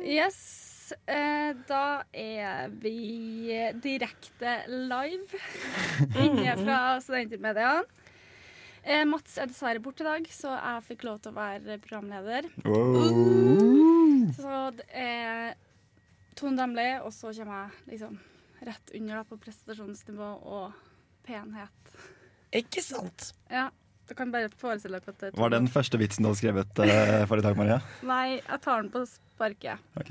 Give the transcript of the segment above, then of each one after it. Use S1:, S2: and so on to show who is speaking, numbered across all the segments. S1: Yes, eh, da er vi direkte live inne fra Studentermedia. Eh, Mats er dessverre borte i dag, så jeg fikk lov til å være programleder. Så det er Tone Damli, og så kommer jeg liksom rett under da, på prestasjonsnivå og penhet.
S2: Ikke sant?
S1: Ja, du kan bare forestille deg at det er
S3: Var det den første vitsen du hadde skrevet eh, for i dag, Maria?
S1: Nei, jeg tar den på sparket.
S3: Ok.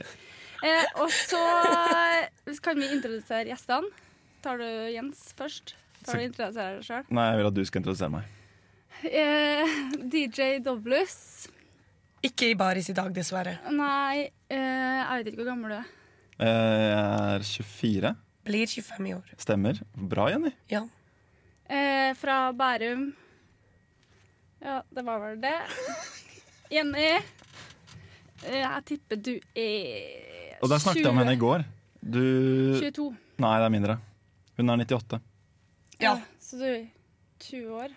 S1: Eh, og så eh, kan vi introdusere gjestene. Tar du Jens først? Tar du introdusere deg sjøl?
S3: Nei, jeg vil at du skal introdusere meg.
S1: Eh, DJ Doblus.
S2: Ikke i baris i dag, dessverre.
S1: Nei, eh, jeg vet ikke hvor gammel du er.
S3: Eh, Jeg er 24.
S2: Blir 25 i år.
S3: Stemmer. Bra, Jenny.
S2: Ja.
S1: Eh, fra Bærum. Ja, det var vel det. Jenny, eh, jeg tipper du er
S3: Og der snakket jeg om henne i går. Du
S1: 22.
S3: Nei, det er mindre. Hun er 98.
S2: ja.
S1: Så du er 20 år?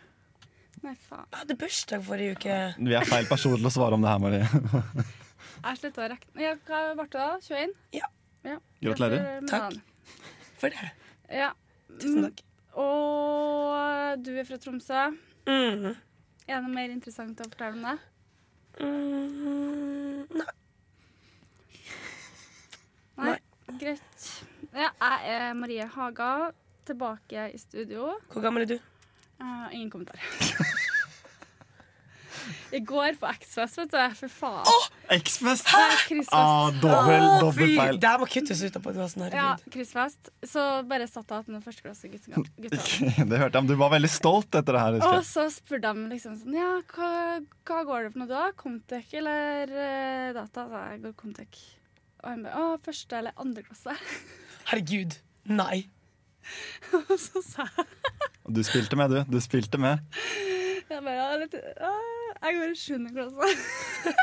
S1: Nei, faen.
S2: Jeg hadde bursdag forrige uke.
S3: Vi er feil person til å svare om det her, Marie.
S1: Jeg slutta å regne. Ja, hva ble det da? 21?
S2: Ja.
S1: Ja.
S3: Gratulerer.
S1: med
S2: Takk.
S1: dagen.
S2: For det.
S1: Ja.
S2: Tusen takk.
S1: Og du er fra Tromsø.
S2: Mm.
S1: Er det noe mer interessant å fortelle om det?
S2: Mm. Nei.
S1: Nei. Greit. Ja, jeg er Marie Haga, tilbake i studio.
S2: Hvor gammel er du?
S1: Eh, ingen kommentar. I går på X-Fest, vet du. For faen.
S2: ah!
S3: X-fest!
S1: Det er Kryssfest.
S3: Ah, dobbel,
S2: Å,
S3: dobbel
S2: fy!
S3: feil.
S2: Det her må kuttes ut av podkasten.
S1: Ja,
S2: Herregud.
S1: kryssfest. Så bare satt jeg igjen med førsteklasseguttene.
S3: Det hørte jeg, men du var veldig stolt etter det her.
S1: Og
S3: husker jeg.
S1: så spurte de liksom sånn Ja, hva, hva går det for noe da? Comtec eller eh, data? Så jeg går Comtec. Og han bare Å, første eller andre klasse?
S2: Herregud. Nei.
S1: Og så sa jeg
S3: Og Du spilte med, du. Du spilte med.
S1: Jeg bare, «Ja, litt, ja, jeg går i sjuende klasse.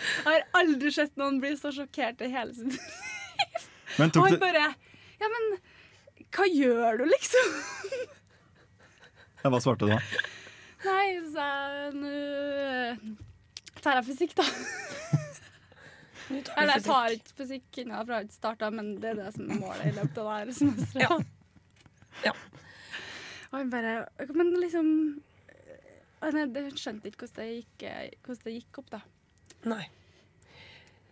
S1: Jeg har aldri sett noen bli så sjokkert i hele sin
S3: Men
S1: Og
S3: tok
S1: han
S3: du
S1: bare Ja, men hva gjør du, liksom?
S3: Ja, Hva svarte du da?
S1: Nei, så sa jeg nå tar jeg fysikk, da.
S2: Nå tar vi
S1: Eller jeg
S2: fysikk.
S1: tar ikke fysikk ennå, for jeg har ikke starta, men det er det som er målet i løpet av det her semesteret.
S2: Ja. Ja.
S1: Og han bare Men liksom eh, nei, det- Hun skjønte ikke hvordan det, gikk, eh, hvordan det gikk opp, da.
S2: Nei.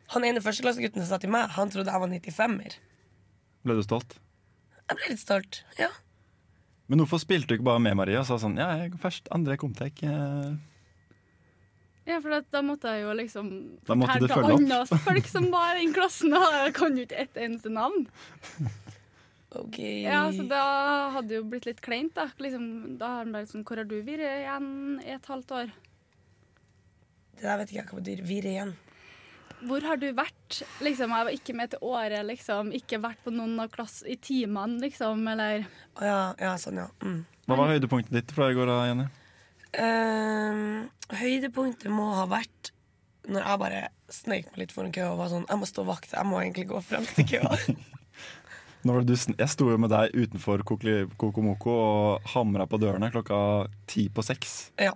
S2: Han ene førsteklassegutten som sa til meg, han trodde jeg var 95-er.
S3: Ble du stolt?
S2: Jeg ble litt stolt. Ja.
S3: Men hvorfor spilte du ikke bare med Maria og sa sånn Ja, jeg først André Komtek. eh,
S1: Ja, for at da måtte jeg jo liksom
S3: Da måtte du
S1: fortelle
S3: følge
S1: til andre folk som var i den klassen, og jeg kan jo ikke ett eneste navn.
S2: OK.
S1: Ja, så da hadde det jo blitt litt kleint, da. Liksom, da har han bare sånn Hvor har du vært igjen i et halvt år?
S2: Det der vet ikke jeg hva betyr. Vir igjen.
S1: Hvor har du vært? Liksom, jeg var ikke med til året, liksom. Ikke vært på noen av klass i timene, liksom, eller
S2: Å ja, ja, sånn, ja. Mm.
S3: Hva var høydepunktet ditt fra i går, da, Jenny?
S2: Ehm, høydepunktet må ha vært når jeg bare sneik meg litt foran køa og var sånn Jeg må stå vakt. Jeg må egentlig gå frem til køa.
S3: Nå var det du, sn- jeg sto jo med deg utenfor Kokli- Kokomoko og hamra på dørene klokka ti på seks.
S2: ja.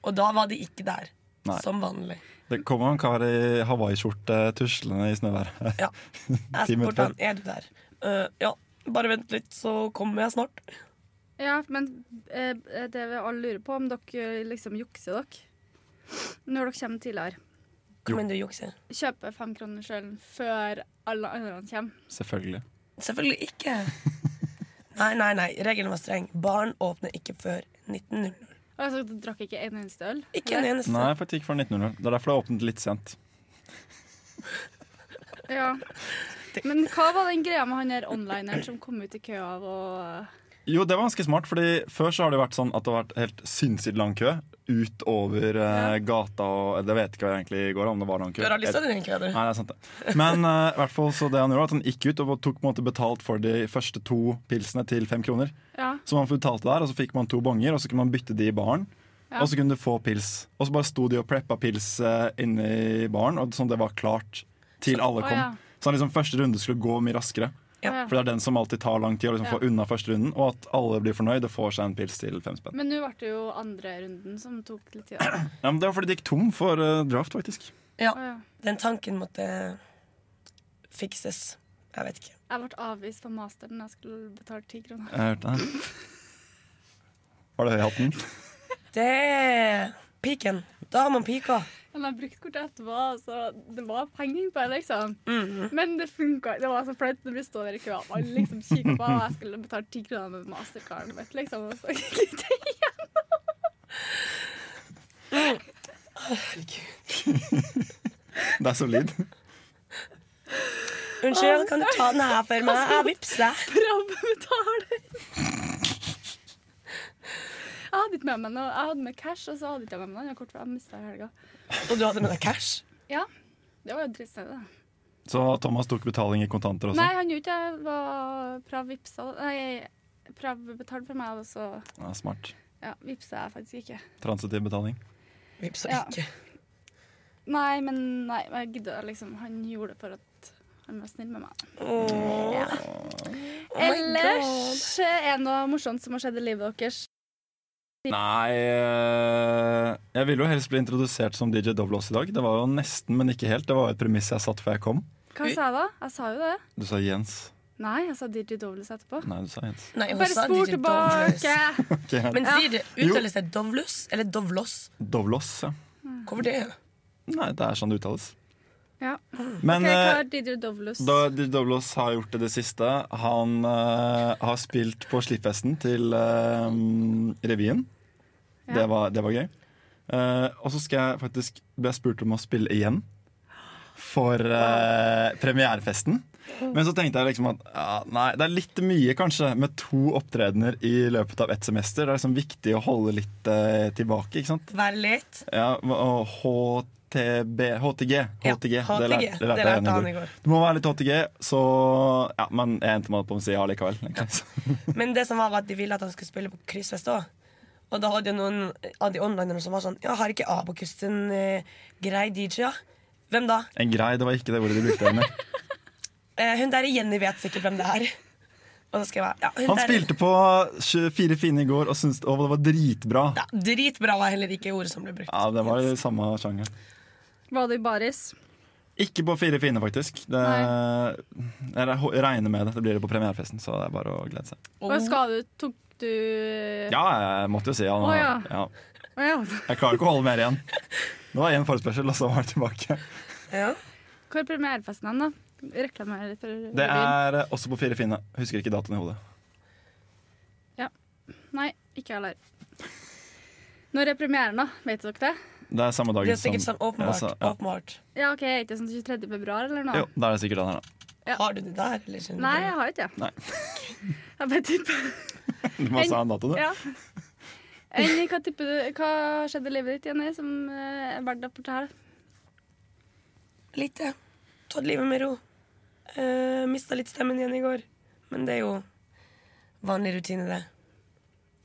S2: Og da var de ikke der.
S3: Nei.
S2: Som vanlig.
S3: Det kom en kar i hawaiiskjorte tuslende i snøværet.
S2: Ja.
S3: Ti
S2: Jeg
S3: minutter
S2: spurte han er du der. «Eh, ja, bare vent litt, så kommer jeg snart.
S1: Ja, men eh, det vi alle lurer på, om dere liksom jukser dere når dere kommer tidligere.
S3: Jo.
S2: Hva mener du jukse?
S1: Kjøper femkronersølen før alle andre kommer.
S3: Selvfølgelig.
S2: Selvfølgelig ikke. Nei, nei, nei. Regelen var streng. Barn åpner ikke før 19.00.
S1: Og jeg så drakk ikke en eneste øl.
S2: Ikke en eneste.
S3: Nei, faktisk ikke før 1900. Det er derfor det har åpnet litt sent.
S1: Ja. Men hva var den greia med han der onlineren som kom ut i køa av og
S3: Jo, det var ganske smart, fordi før så har det vært sånn at det har vært helt sinnssykt lang kø utover eh, gata og Jeg vet ikke hva jeg egentlig går om det var lang kø.
S2: Du har aldri sett den køen, du.
S3: Nei, det er sant det. Men eh, i hvert fall så det han gjorde, var at han gikk ut og tok på en måte betalt for de første to pilsene til fem kroner.
S1: Ja.
S3: Så man betalte der, og så fikk man to bonger, og så kunne man bytte de i baren.
S1: Ja.
S3: Og så kunne du få pils. Og så bare sto de og preppa pils eh, inne i baren, og sånn det var klart til alle
S1: Å,
S3: kom.
S1: ja.
S3: Så han liksom første runde skulle gå mye raskere.
S2: Ja.
S3: For det er den som alltid tar lang tid å liksom få unna første runden, og at alle blir fornøyd og får seg en pils til fem spenn.
S1: Men nå ble det jo andre runden som tok litt tid. da.
S3: Ja, men det var fordi det gikk tom for eh, draft, faktisk.
S2: Ja,
S1: Å, ja.
S2: den tanken måtte fikses. Jeg vet ikke.
S1: Jeg ble avvist på masteren. Jeg skulle betale ti kroner.
S3: Jeg hørte det. Var det høy i hatten?
S2: Det er piken. Da har man pika.
S1: Men jeg brukte kortet etterpå, så det var penger på det, liksom. Men det funka. Det var så flaut når vi sto der i køa og alle liksom kikka på, og jeg skulle betale ti kroner med mastercardet mitt, liksom. Og så gikk det
S3: Det er solid.
S2: Unnskyld, kan du ta den her for meg? Jeg vippser.
S1: krabbebetaler. Jeg hadde ikke med meg noe. Jeg hadde med cash, og så hadde ikke jeg med meg noe annet kort, for jeg mista i helga.
S2: Og du hadde med deg cash?
S1: Ja, det var jo drittstedet. da.
S3: Så Thomas tok betaling i kontanter også?
S1: Nei, han gjorde ikke det. Det var Prav vipsa. Nei, Prav betalte for meg, og så
S3: Ja, smart.
S1: ja, vipsa jeg faktisk ikke.
S3: Transitiv betaling.
S2: Vipsa
S1: Ja.
S2: ikke.
S1: Nei, men nei, jeg gidda liksom. Han gjorde det for at han var snill med meg.
S2: Åh.
S1: Ja.
S2: Oh my
S1: Ellers er det noe morsomt som har skjedd i livet deres.
S3: Nei eh, Jeg ville jo helst bli introdusert som DJ Dovlos i dag. Det var jo nesten, men ikke helt. Det var jo et premiss jeg satt før jeg kom.
S1: Hva sa jeg da? Jeg sa jo det.
S3: Du sa Jens.
S1: Nei, jeg sa DJ Dovles etterpå.
S3: Nei, du sa Jens.
S2: Nei, hun
S1: Bare
S2: sa
S1: spor
S2: DJ Dovlus.
S1: tilbake!
S3: Ok, ja.
S2: Men
S1: Ja.
S2: sier det uttales det Dovlus eller Dovlos?
S3: Dovlos, ja.
S2: Hvorfor det?
S3: Nei, det er sånn det uttales.
S1: Ja.
S3: Men
S1: Ok, hva
S3: eh,
S1: har DJ Dovlus?
S3: da DJ Dovlos har gjort det det siste. Han eh, har spilt på slippfesten til eh, revyen.
S1: Ja.
S3: Det, var, det var gøy. Eh, og så skal jeg faktisk bli spurt om å spille igjen for eh, premierefesten. Men så tenkte jeg liksom at ja, nei, det er litt mye kanskje med to opptredener i løpet av ett semester. Det er liksom viktig å holde litt eh, tilbake, ikke sant?
S2: Vær litt.
S3: Ja, og HTB HTG.
S2: Ja,
S3: HTG.
S2: HTG.
S3: Det lærte, det lærte jeg
S2: han
S3: henne i går. Du må være litt HTG, så ja, Men jeg endte meg opp på å si ja likevel. egentlig. Så-
S2: Men det som var, var at de ville at han skulle spille på kryssfest òg. Og da hadde jo noen av de onlinerne som var sånn Ja, har ikke Abakus en eh, grei DJ, ja? Hvem da?
S3: En grei, det var ikke det ordet de brukte. Henrik.
S2: Eh, hun der Jenny vet sikkert hvem det er. Og så skrev jeg ja, hun
S3: Han
S2: der-
S3: spilte på 24 fine i går og syntes å, det var dritbra.
S2: ja, Dritbra var heller ikke ordet som ble brukt.
S3: Ja, Det var i samme sjanger.
S1: Var du i baris?
S3: Ikke på Fire fine, faktisk. Det,
S1: Nei.
S3: jeg regner med det. Det blir det på premierefesten, så det er bare å glede seg.
S2: Oh.
S1: Og skal du, tok du
S3: Ja, jeg måtte jo si ja. nå.
S1: Å, ja.
S3: Ja.
S1: Å, ja.
S3: Jeg klarer ikke å holde mer igjen. Det var én forespørsel, og så var det tilbake.
S2: Ja.
S1: Hvor er premierefesten hen, da? Reklamerer litt for
S3: Det
S1: revyen.
S3: er eh, også på Fire fine. Husker ikke datoen i hodet.
S1: Nei, ikke heller. Når er premieren, da? Vet dere det?
S3: Det er samme dagen
S2: Det er sikkert
S3: som
S2: sånn åpenbart.
S3: Ja, så- ja.
S2: åpenbart.
S1: Ja, OK, er ikke det sånn 23. februar eller noe?
S3: Jo, det er det sikkert den her, da.
S1: Ja.
S2: Har du det der, eller? kjenner du
S1: Nei,
S2: det?
S1: jeg har ikke det.
S3: Nei.
S1: Jeg bare tipper.
S3: Du må også ha en dato, du.
S1: Ja. Enn, hva, tipper du, hva skjedde i livet ditt, Jenny, som eh, er verdt å fortelle?
S2: Lite. Tatt livet med ro. Uh, Mista litt stemmen igjen i går. Men det er jo vanlig rutine, det.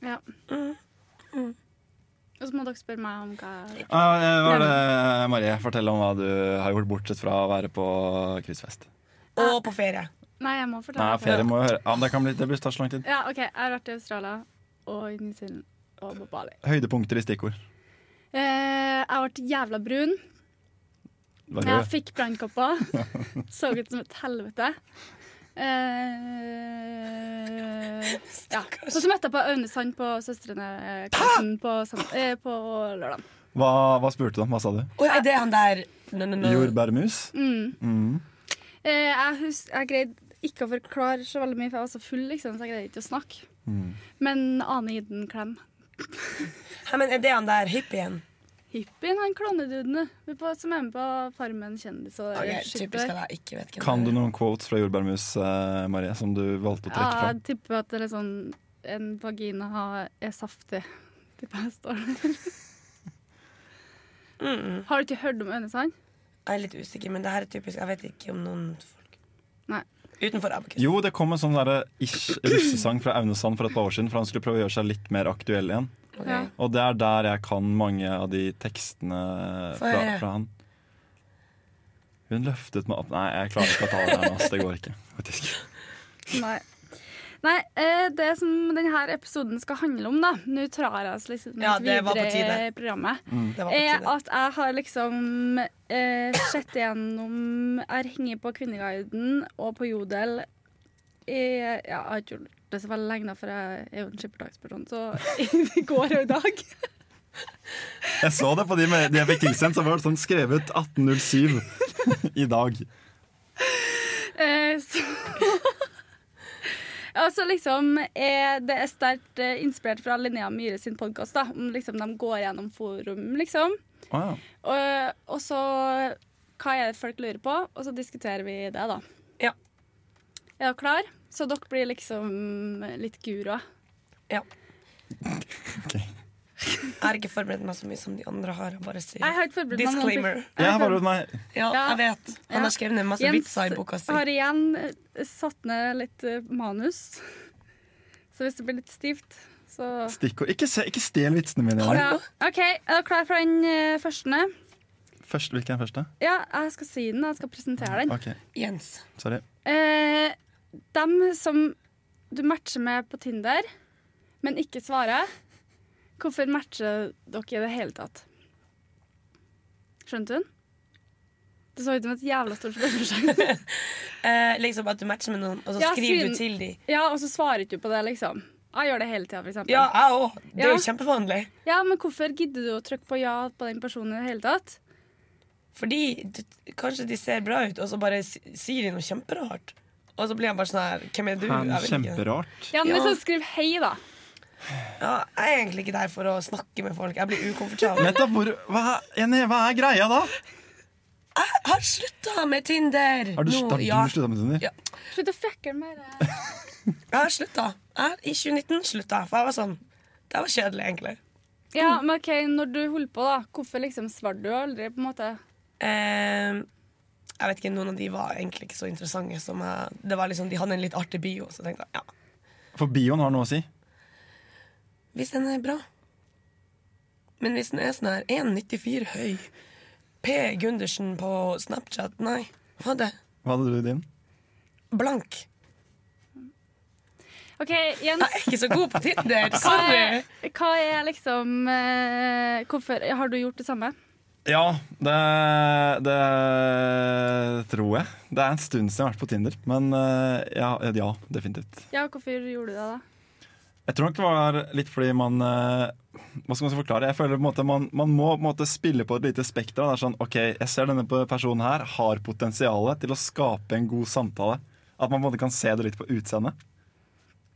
S1: Ja. Og så må dere spørre meg om hva
S3: Ja, eh, hva er det, Marie? Fortell om hva du har gjort, bortsett fra å være på kryssfest.
S2: Og på ferie.
S1: Nei, jeg må fortelle.
S3: Nei,
S1: dere.
S3: ferie må jo høre. Ja, men det, kan bli, det blir så lang tid.
S1: Ja, ok, jeg har vært i Australia og i New Zealand og på Bali.
S3: Høydepunkter i stikkord.
S1: Eh, jeg ble jævla brun.
S3: Hva gjør
S1: Jeg
S3: du?
S1: fikk brannkopper. Så ut som et helvete. Eh, ja. Og så møtte jeg på Aune Sand på Søstrene Karlsen på, sam- eh, på lørdag.
S3: Hva, hva spurte du om? Hva sa du?
S2: Og er det han der no, no, no.
S3: Jordbærmus?
S1: Mm.
S3: Mm.
S1: Eh, jeg, hus jeg greide ikke å forklare så veldig mye, for jeg var så full, liksom, så jeg greide ikke å snakke.
S3: Mm.
S1: Men Ane Iden Klem.
S2: Hæ, men er det han der hippien?
S1: Hippien, han klovneduden som er med på Farmen kjendis. Og
S2: Ok,
S1: shit der.
S2: typisk at jeg ikke vet hvem
S3: Kan du
S2: det er.
S3: noen quotes fra Jordbærmus, eh, Marie, som du valgte å trekke
S1: Ja,
S3: fram?
S1: jeg tipper at det er sånn en vagina har- er saftig. Tipper jeg står der.
S2: Mm -mm.
S1: Har du ikke hørt om Øynesand?
S2: Jeg er litt usikker, men det her er typisk. Jeg vet ikke om noen folk
S1: Nei.
S2: Utenfor Abakus.
S3: Jo, det kom en sånn derre ish russesang fra Aune Sand for et par år siden, for han skulle prøve å gjøre seg litt mer aktuell igjen.
S2: Ok.
S1: Ja.
S3: Og det er der jeg kan mange av de tekstene
S2: Få
S3: fra,
S2: høre.
S3: fra han. Hun løftet meg opp Nei, jeg klarer ikke å ta det her. nå, ass. Det går ikke. faktisk
S1: Nei. Nei, eh, det som denne episoden skal handle om, da Nå trar jeg oss liksom
S2: Ja,
S1: litt
S2: det var på
S1: videre
S2: tide.
S1: i programmet.
S3: Mm.
S2: Det var på
S1: Er
S2: tide.
S1: Eh, at jeg har liksom eh, sett igjennom Jeg har hengt på Kvinneguiden og på Jodel i, ja, Jeg har ikke gjort det så veldig lenge, da, for jeg er jo en skippertaksperson, så i går og i dag
S3: Jeg så det på de, me- de jeg fikk tilsendt, så var det sånn skrevet 1807 i dag.
S1: Eh, så Altså liksom, eh, Det er sterkt eh, inspirert fra Linnea Myhre sin podkast. Liksom, de går gjennom forum, liksom.
S3: Å ja.
S1: Og, og så hva er det folk lurer på, og så diskuterer vi det, da.
S2: Ja.
S1: Er dere klar? Så dere blir liksom litt guruer.
S2: Ja.
S3: Ok.
S2: Jeg har ikke forberedt meg så mye som de andre har. Jeg bare sier
S1: Jeg har ikke forberedt meg noen ting.
S2: Disclaimer.
S1: Jeg
S3: Jeg har
S1: har
S3: bare meg
S2: Ja,
S1: Ja.
S2: jeg vet. Han
S1: Ja.
S2: har skrevet ned masse
S1: Jens
S2: vitser i boka si.
S1: har igjen eh, satt ned litt eh, manus. Så hvis det blir litt stivt, så
S3: stikkord. Ikke, se- ikke stel vitsene mine.
S2: Har du-
S1: ja. OK, er dere klar for den eh, første?
S3: Først, hvilken er første?
S1: Ja, jeg skal si den. Jeg skal presentere den.
S3: Ok,
S2: Jens.
S3: sorry.
S1: Eh, dem som du matcher med på Tinder, men ikke svarer, hvorfor matcher dere i det hele tatt? Skjønte hun? Det så ut som et jævla stort spørsmål.
S2: Eh, liksom at du matcher med noen, og så
S1: Ja,
S2: skriver
S1: siden-
S2: du til dem.
S1: ja, og så svarer ikke du på det, liksom. Jeg gjør det hele tida, for eksempel.
S2: Ja, jeg òg. Det er
S1: Ja.
S2: jo kjempevanlig.
S1: Ja, men hvorfor gidder du å trykke på ja på den personen i det hele tatt?
S2: Fordi du, kanskje de ser bra ut, og så bare si- sier de noe kjemperart. Og så blir han bare sånn her Hvem er du?
S3: Han,
S2: Jeg vet ikke.
S3: kjemperart.
S1: Ja, men
S2: Ja.
S1: så skriv hei, da.
S2: Ja, jeg er egentlig ikke der for å snakke med folk. Jeg blir ukomfortabel.
S3: Nettopp, hvor, hva, Jenny, hva er greia da?
S2: Jeg har slutta med Tinder!
S3: Har du,
S2: Nå,
S3: har
S2: ja.
S3: du slutta med Tinder?
S2: Ja.
S1: Slutt å fucke med det.
S2: Jeg har slutta. Jeg har- I 2019 slutta jeg, for jeg var sånn Det var kjedelig, egentlig.
S1: Ja, men OK, når du holdt på, da, hvorfor liksom svarte du aldri, på en måte?
S2: Eh, jeg vet ikke, Noen av de var egentlig ikke så interessante. Som jeg, det var liksom, De hadde en litt artig bio, så tenkte jeg ja,
S3: For bioen har noe å si.
S2: hvis den er bra. Men hvis den er sånn her 1,94 høy, P. Gundersen på Snapchat Nei, hva er det?
S3: Hva hadde du i din?
S2: Blank.
S1: OK, Jens.
S2: Jeg er ikke så god på Tinder.
S1: Hva
S2: Sorry.
S1: er, hva er liksom eh, Hvorfor har du gjort det samme?
S3: Ja, det, det tror jeg. Det er en stund siden jeg har vært på Tinder, men eh, ja, ja, definitivt.
S1: Ja, hvorfor gjorde du det, da?
S3: Jeg tror nok det var litt fordi man eh, Hva skal man forklare? Jeg føler på en måte man, man må på en måte spille på et lite spekter. da. Det er sånn, ok, Jeg ser denne pe- personen her har potensialet til å skape en god samtale. At man på en måte kan se det litt på utseendet.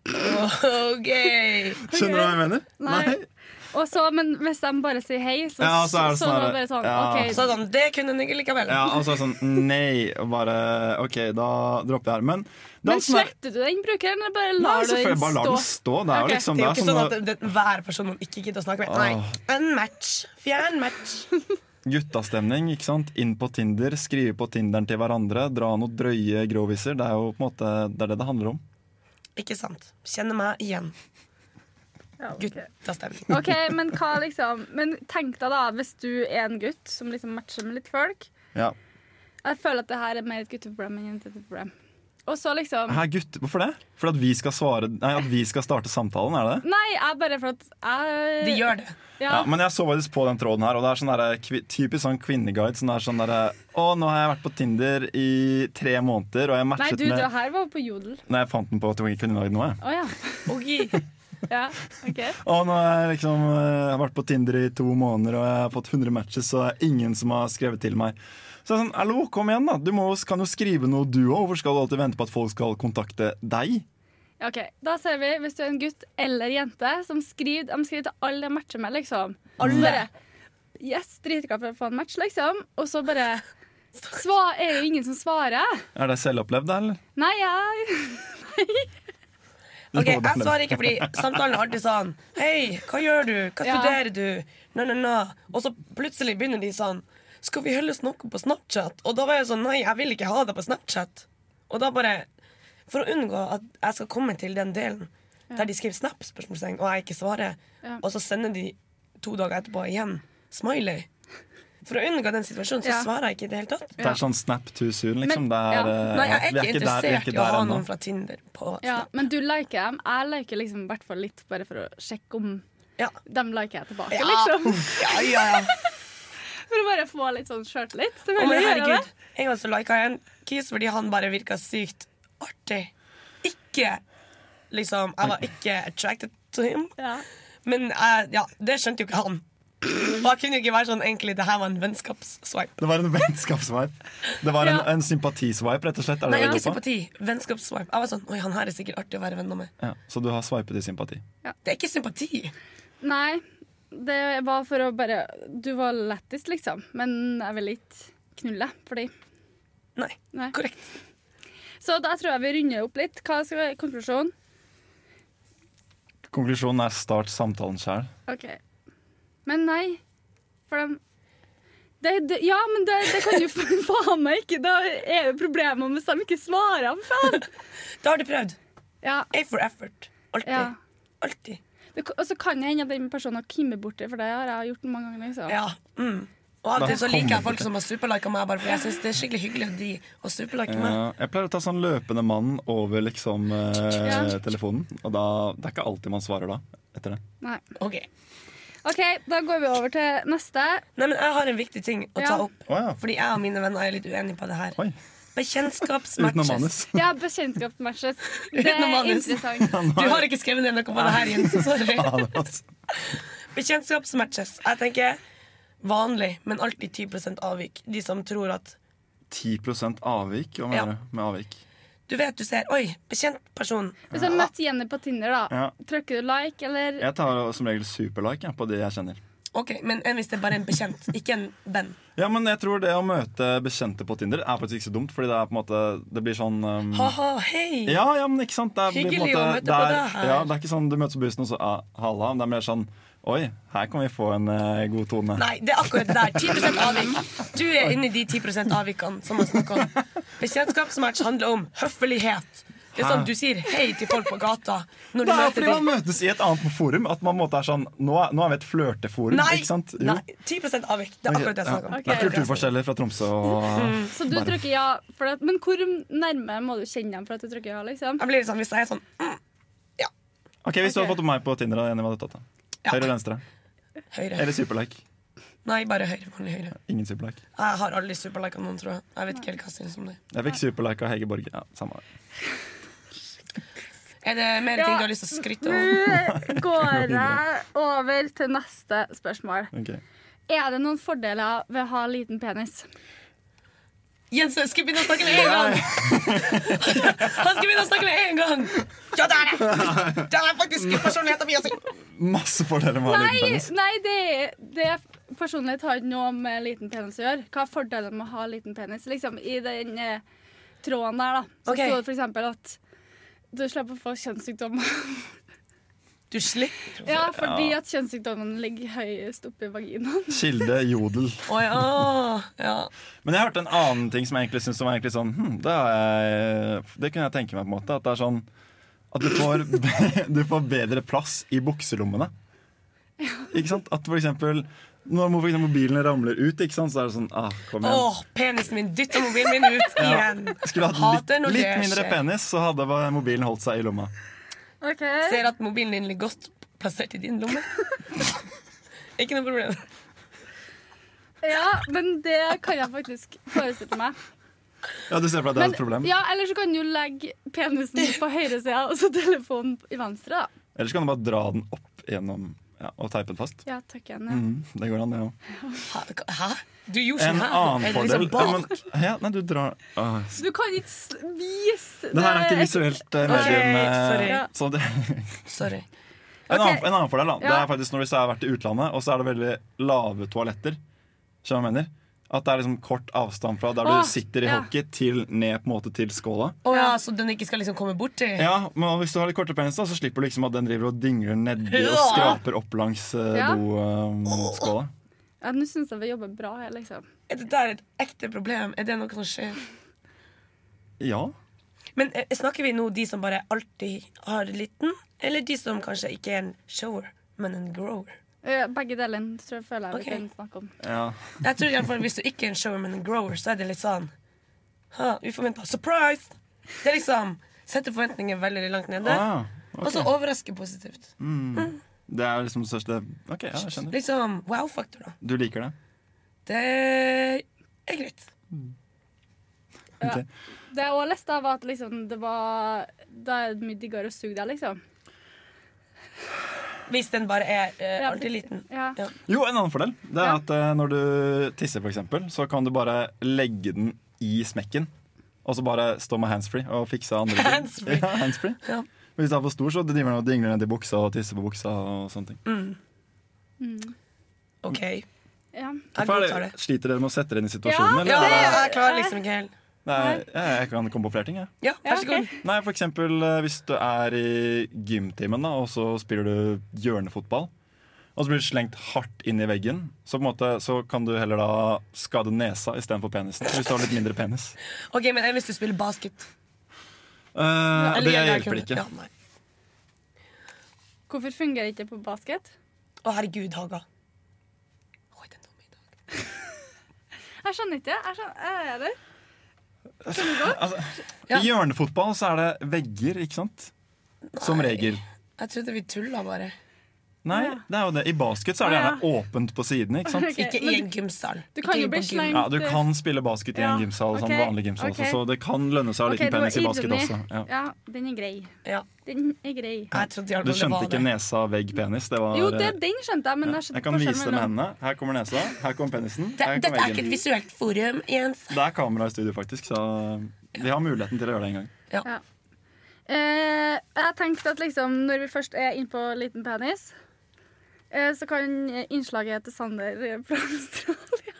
S2: OK.
S3: Skjønner du hva jeg mener?
S1: Nei. Og så, men hvis de bare sier hei, så,
S3: Ja, så
S1: så,
S3: er det sånn
S1: var
S3: her-
S1: det bare sånn
S3: ja.
S1: OK.
S2: Så sånn, det kunne den ikke likevel.
S3: Ja, og så er det sånn nei, og bare OK, da dropper jeg her. Men, det er
S1: men
S3: sånn her-
S1: sletter du den brukeren, eller bare
S3: Nei,
S1: lar du
S3: selvfølgelig,
S1: den
S3: bare lar
S1: stå?
S3: den stå. Det er
S1: Ok.
S3: jo liksom
S2: Det er jo
S3: det
S2: ikke
S3: er
S2: sånn
S3: sånn
S2: at det, det, hver person man ikke gidder å snakke med. Nei, En match. Fjern match.
S3: Guttastemning, ikke sant? Inn på Tinder, skrive på Tinderen til hverandre, dra noen drøye groviser. Det er jo på en måte det er det det handler om.
S2: Ikke sant. Kjenner meg igjen.
S1: Ja, ok.
S2: Guttastemning.
S1: OK, men hva liksom Men tenk deg, da, hvis du er en gutt som liksom matcher med litt folk.
S3: Ja.
S1: Jeg føler at det her er mer et gutteproblem enn et jenteproblem. Og så liksom
S3: Hæ, gutt, hvorfor det? Fordi at vi skal svare Nei, at vi skal starte samtalen, er det det?
S1: Nei, jeg bare for at jeg
S2: De gjør det.
S1: ja.
S3: Ja, men jeg så faktisk på den tråden her, og det er sånn derre kvi- typisk sånn kvinneguide. Sånn der, sånn derre Å, nå har jeg vært på Tinder i tre måneder, og jeg
S1: Nei,
S3: matchet
S1: du, det
S3: med
S1: her var på Jodel.
S3: Nei, jeg fant den på Kvinneguide nå, jeg.
S1: Å ja.
S2: Ok.
S1: ja. OK.
S3: Og nå har jeg liksom eh, jeg har vært på Tinder i to måneder og jeg har fått 100 matches, og det er ingen som har skrevet til meg. Så jeg er sånn, hallo, kom igjen da, Du må, kan jo skrive noe du òg. Hvorfor skal du alltid vente på at folk skal kontakte deg?
S1: Ok, Da ser vi hvis du er en gutt eller jente som skriver, de skriver til alle de matcher med, liksom. Alle. Bare, yes, dritglad for å få en match, liksom. Og så bare sva, er det jo ingen som svarer.
S3: Er det selvopplevd, da, eller?
S1: Nei, jeg
S2: Ok, Jeg svarer ikke fordi samtalen er alltid sånn Hei, hva gjør du? Hva
S1: Ja.
S2: studerer du? Nå, nå, nå. Og så plutselig begynner de sånn Skal vi holde noe på Snapchat? Og da var jeg sånn Nei, jeg vil ikke ha det på Snapchat. Og da bare For å unngå at jeg skal komme til den delen der de skriver Snap, spørsmålstegn, og jeg ikke svarer,
S1: Ja.
S2: og så sender de to dager etterpå igjen smiley. For å unngå den situasjonen så
S1: Ja.
S2: svarer jeg ikke i det hele tatt.
S3: Det er sånn snap too soon, liksom.
S1: Men-
S3: det er,
S1: ja.
S3: eh,
S2: Nei, jeg
S3: vi
S2: er ikke
S3: der- vi er
S2: interessert
S3: ikke
S2: i å
S3: der
S2: ha
S3: ennå.
S2: noen fra Tinder på
S1: Ja,
S2: Snap.
S1: men du liker dem. Jeg liker liksom i hvert fall litt bare for å sjekke om
S2: Ja.
S1: dem liker jeg tilbake,
S2: Ja.
S1: liksom.
S2: Ja, ja, ja.
S1: For å bare få litt sånn sjøltillit.
S2: Å, men
S1: Selvfølgelig gjør jeg det.
S2: herregud, en gang så lika jeg en kis fordi han bare virka sykt artig. Ikke liksom Jeg var ikke attracted to him,
S1: Ja.
S2: men jeg, ja, det skjønte jo ikke han. Og jeg kunne jo ikke være sånn egentlig Det her var en vennskapsswipe.
S3: Det var en vennskapsswipe. Det var en,
S1: Ja.
S3: en sympatiswipe, rett og slett. Er
S2: Nei,
S3: det det
S2: ikke
S3: du sa?
S2: sympati. Vennskapsswipe. Jeg var sånn Oi, han her er sikkert artig å være venner med.
S3: Ja, så du har swipet i sympati.
S2: Det er ikke sympati.
S1: Nei, det var for å bare Du var lettest, liksom. Men jeg vil ikke knulle fordi
S2: Nei.
S1: Nei.
S2: Korrekt.
S1: Så da tror jeg vi runder opp litt. Hva skal være konklusjonen?
S3: Konklusjonen er start samtalen sjæl.
S1: OK. Men nei, for dem det, det, ja, men det, det kan jo for faen meg ikke Da er jo problemet hvis de ikke svarer, faen!
S2: Da har du prøvd.
S1: Ja,
S2: A for effort. Alltid.
S1: ja.
S2: Alltid.
S1: Det, og så kan det hende at den personen har kimmet borti, for det har jeg gjort mange ganger. Liksom.
S2: Ja. Mm. Og av og
S3: Da
S2: til så liker
S3: kommer
S2: jeg folk
S3: det.
S2: som har superlika meg, bare fordi jeg syns det er skikkelig hyggelig av de å superlike meg.
S3: Eh, jeg pleier å ta sånn løpende mann over liksom eh,
S1: Ja.
S3: telefonen. Og da, det er ikke alltid man svarer da. Etter det.
S1: Nei.
S2: Ok
S1: OK, da går vi over til neste.
S2: Nei, men Jeg har en viktig ting å ta
S1: Ja.
S2: opp.
S3: Å ja.
S2: Fordi jeg og mine venner er litt uenige på det her.
S3: Oi. Utenom
S2: Bekjentskapsmatches.
S3: manus.
S1: Ja, bekjentskapsmatches. Det er
S2: Utenom manus.
S1: interessant.
S2: Du har ikke skrevet ned noe på det her, Jens. Sorry.
S3: Ja, det var altså s-
S2: Bekjentskapsmatches. Jeg tenker vanlig, men alltid 10 avvik. De som tror at
S3: 10 avvik. Hva
S2: Ja.
S3: mener du med avvik?
S2: Du vet du ser Oi, bekjent person.
S1: Hvis jeg møtte Jenny på Tinder, da,
S3: Ja.
S1: trykker du like, eller
S3: Jeg tar som regel superlike jeg, på de jeg kjenner.
S2: OK, men enn hvis det er bare en bekjent, ikke en venn.
S3: Ja, men jeg tror det å møte bekjente på Tinder er faktisk ikke så dumt, fordi det er på en måte Det blir sånn um,
S2: Ha-ha, hei!
S3: Ja, ja, men ikke sant det blir på en
S2: Hyggelig
S3: måte-
S2: å
S3: det
S2: møte på
S3: er,
S2: deg her.
S3: Ja, det er ikke sånn du møtes på bussen og så ah, halla. men Det er mer sånn Oi, her kan vi få en eh, god tone.
S2: Nei, det er akkurat det der. 10 avvik. Du er inni de 10 avvikene som man snakker om. Bekjentskapsmatch handler om høflighet. Det er sånn du sier hei til folk på gata når du
S3: Det er
S2: møter
S3: fordi man
S2: dem.
S3: møtes i et annet forum. At man på en måte er sånn Nå, er- nå er vi et flørteforum,
S2: Nei,
S3: ikke sant? Jo.
S2: nei, 10 avvik. Det er akkurat det jeg snakker om.
S3: Det er
S1: Ok. Mm.
S3: kulturforskjeller fra Tromsø og
S1: Så du trykker ja. For at, men hvor nærme må du kjenne dem for at du trykker ja, liksom?
S2: Jeg blir litt sånn, Hvis jeg er sånn mm,
S3: Ok, Hvis du hadde
S1: Ok.
S3: fått meg på Tinder, da, Jenny, hva hadde du tatt? da?
S2: Ja.
S3: Høyre eller venstre?
S2: høyre
S3: Eller superlike?
S2: Nei, bare høyre. vanlig høyre
S3: Ingen superlike.
S2: Jeg har aldri superlika noen, tror jeg. Jeg vet ikke helt hva jeg syns om det.
S3: Jeg fikk superlike av Hege Borge. Ja, samme.
S2: Er det mer
S1: Ja.
S2: ting du har lyst til å skryte av?
S1: Nå går jeg over til neste spørsmål.
S3: Ok.
S1: Er det noen fordeler ved å ha liten penis?
S2: Jens jeg skal begynne å snakke med en gang! Han skal begynne å snakke med en gang! Ja, det er det! Det er faktisk personligheten min! altså.
S3: Masse fordeler med å ha liten
S1: Nei,
S3: penis.
S1: nei det, det personlighet har ikke noe med liten penis å gjøre. Hva er fordelen med å ha liten penis? Liksom, I den eh, tråden der, da, så
S2: Ok.
S1: sto det for eksempel at du slipper å få kjønnssykdommer.
S2: Du slipper
S1: ja, fordi at kjønnssykdommene ligger høyest oppi vaginaen.
S3: Kilde jodel.
S2: Å ja. ja.
S3: Men jeg hørte en annen ting som jeg egentlig syns var egentlig sånn hm, det, har jeg, det kunne jeg tenke meg, på en måte. At det er sånn At du får, be- du får bedre plass i bukselommene. Ikke sant? At for eksempel når for eksempel bilen ramler ut, ikke sant? så er det sånn ah, Kom
S2: Å,
S3: igjen.
S2: penisen min dytter mobilen min ut igjen!
S3: Skulle jeg hatt
S2: Hater
S3: litt,
S2: når
S3: litt
S2: det
S3: mindre
S2: skjer.
S3: penis, så hadde bare mobilen holdt seg i lomma.
S1: Okay.
S2: Ser at mobilen din ligger godt plassert i din lomme. Ikke noe problem.
S1: Ja, men det kan jeg faktisk forestille meg.
S3: Ja, Du ser for deg at det er et problem?
S1: ja, Eller så kan du legge penisen på høyresida og så telefonen i venstre. da.
S3: Eller så kan du bare dra den opp gjennom ja, og teipe den fast.
S1: Ja, takk igjen. Ja.
S3: Mm, det går an, det òg.
S2: Hæ? Hæ? Du gjorde sånn
S3: En
S2: her?
S3: annen
S2: Eller
S3: fordel
S2: liksom bak?
S3: ja, men, ja, Nei, du drar ah,
S1: Du kan ikke s- vise
S3: Det her er ikke visuelt eh, medium. eh,
S2: sorry.
S1: Ja.
S3: så det, en,
S2: Sorry.
S3: annen, en annen fordel da, det
S1: Ja.
S3: er faktisk når hvis jeg har vært i utlandet, og så er det veldig lave toaletter. Skjønner du hva jeg mener? At det er liksom kort avstand fra der du
S1: Åh,
S3: sitter i
S1: ja.
S3: hockey, til ned på en måte til skåla.
S2: Å ja, så den ikke skal liksom komme borti?
S3: Ja, men Hvis du har litt kortere penis, da, så slipper du liksom at den driver og dingler nedi og
S2: Ja.
S3: skraper opp langs eh,
S1: Ja.
S3: doskåla.
S1: Ja, Nå syns jeg vi jobber bra her, liksom.
S2: Er det der et ekte problem? Er det noe som skjer?
S3: Ja.
S2: Men eh, snakker vi nå de som bare alltid har liten, eller de som kanskje ikke er en shower, men en grower?
S1: Eh, Begge delene tror jeg føler jeg vi
S2: Ok.
S1: kan snakke om.
S3: Ja.
S2: Jeg tror i alle fall Hvis du ikke er en shower, men en grower, så er det litt sånn ha, uforventa. Surprise! Det er liksom Setter forventninger veldig langt nede,
S3: Ah,
S2: og så
S3: ok.
S2: overrasker positivt.
S3: Det er liksom det største OK, ja, jeg skjønner.
S2: Liksom wow-faktor, da.
S3: Du liker det?
S2: Det er greit.
S1: Ja.
S3: Ok.
S1: Det jeg også leste, av var at liksom, det var Da er det mye diggere å suge deg, liksom.
S2: Hvis den bare er eh,
S1: Ja,
S2: alltid liten.
S1: Ja.
S2: Ja.
S3: Jo, en annen fordel Det er
S1: Ja.
S3: at eh, når du tisser, for eksempel, så kan du bare legge den i smekken. Og så bare stå med handsfree og fikse andre ting.
S2: Handsfree.
S3: Ja, handsfree.
S2: Ja.
S3: Hvis den er for stor, så driver den og dingler ned i buksa og tisser på buksa. og sånne
S2: Mm,
S3: ting
S2: OK. Jeg
S1: ja.
S3: Hvorfor er det-
S2: godtar det.
S3: Sliter dere med å sette dere inn i situasjonen?
S2: Ja,
S1: det
S3: eller er det-
S2: jeg klarer liksom ikke helt
S3: Nei, jeg, jeg kan komme på flere ting. Jeg.
S2: Ja,
S1: Ja,
S2: vær så god.
S1: ok.
S3: Nei, for eksempel eh, hvis du er i gymtimen da, og så spiller du hjørnefotball, og så blir du slengt hardt inn i veggen, så, på en måte, så kan du heller da skade nesa istedenfor penisen. Hvis du har litt mindre penis.
S2: Ok, men jeg har lyst til å spille basket.
S3: Eh, det hjelper ikke.
S2: Ja, nei.
S1: Hvorfor fungerer ikke det på basket?
S2: Å, herregud, Haga. Oi, den dumme i dag.
S1: Jeg skjønner ikke. Jeg skjønner, jeg er det.
S3: Altså,
S2: Ja.
S3: I hjørnefotball så er det vegger, ikke sant? Som regel.
S2: Jeg trodde vi tulla bare.
S3: Nei, det er jo det. I basket så er det gjerne åpent på sidene, ikke sant?
S1: Ok,
S2: Ikke
S1: men
S2: i en gymsal.
S1: du kan
S2: Ikke
S1: jo
S2: på
S1: bli
S2: gym.
S1: slengt.
S3: Ja, Du kan spille basket i
S1: Ja,
S3: en gymsal, sånn
S1: ok,
S3: vanlig gymsal,
S1: ok.
S3: også, så det kan lønne seg å ha
S1: Ok,
S3: liten
S1: du var
S3: penis i basket
S1: idrettig.
S3: også. Ja.
S1: Ja, den er grei.
S2: Ja.
S1: Den er grei.
S2: Jeg trodde i alle
S3: Du
S2: fall det
S3: skjønte
S2: var
S3: ikke
S2: det.
S3: nesa, vegg, penis? Det var,
S1: Jo, det, den skjønte jeg, men
S3: eh,
S1: jeg skjønte
S3: Jeg kan
S1: forskjellen
S3: vise det med
S1: mellom-
S3: hendene. Her kommer nesa, her kommer penisen.
S2: Det,
S3: Her
S2: dette
S3: kommer
S2: er ikke et
S3: veggen.
S2: visuelt forum, Jens.
S3: Det er kamera i studio, faktisk, så eh, vi har muligheten til å gjøre det en gang.
S1: Eh, jeg tenkte at liksom, når vi først er inne på liten penis, eh, så kan innslaget til Sander eh, fra Australia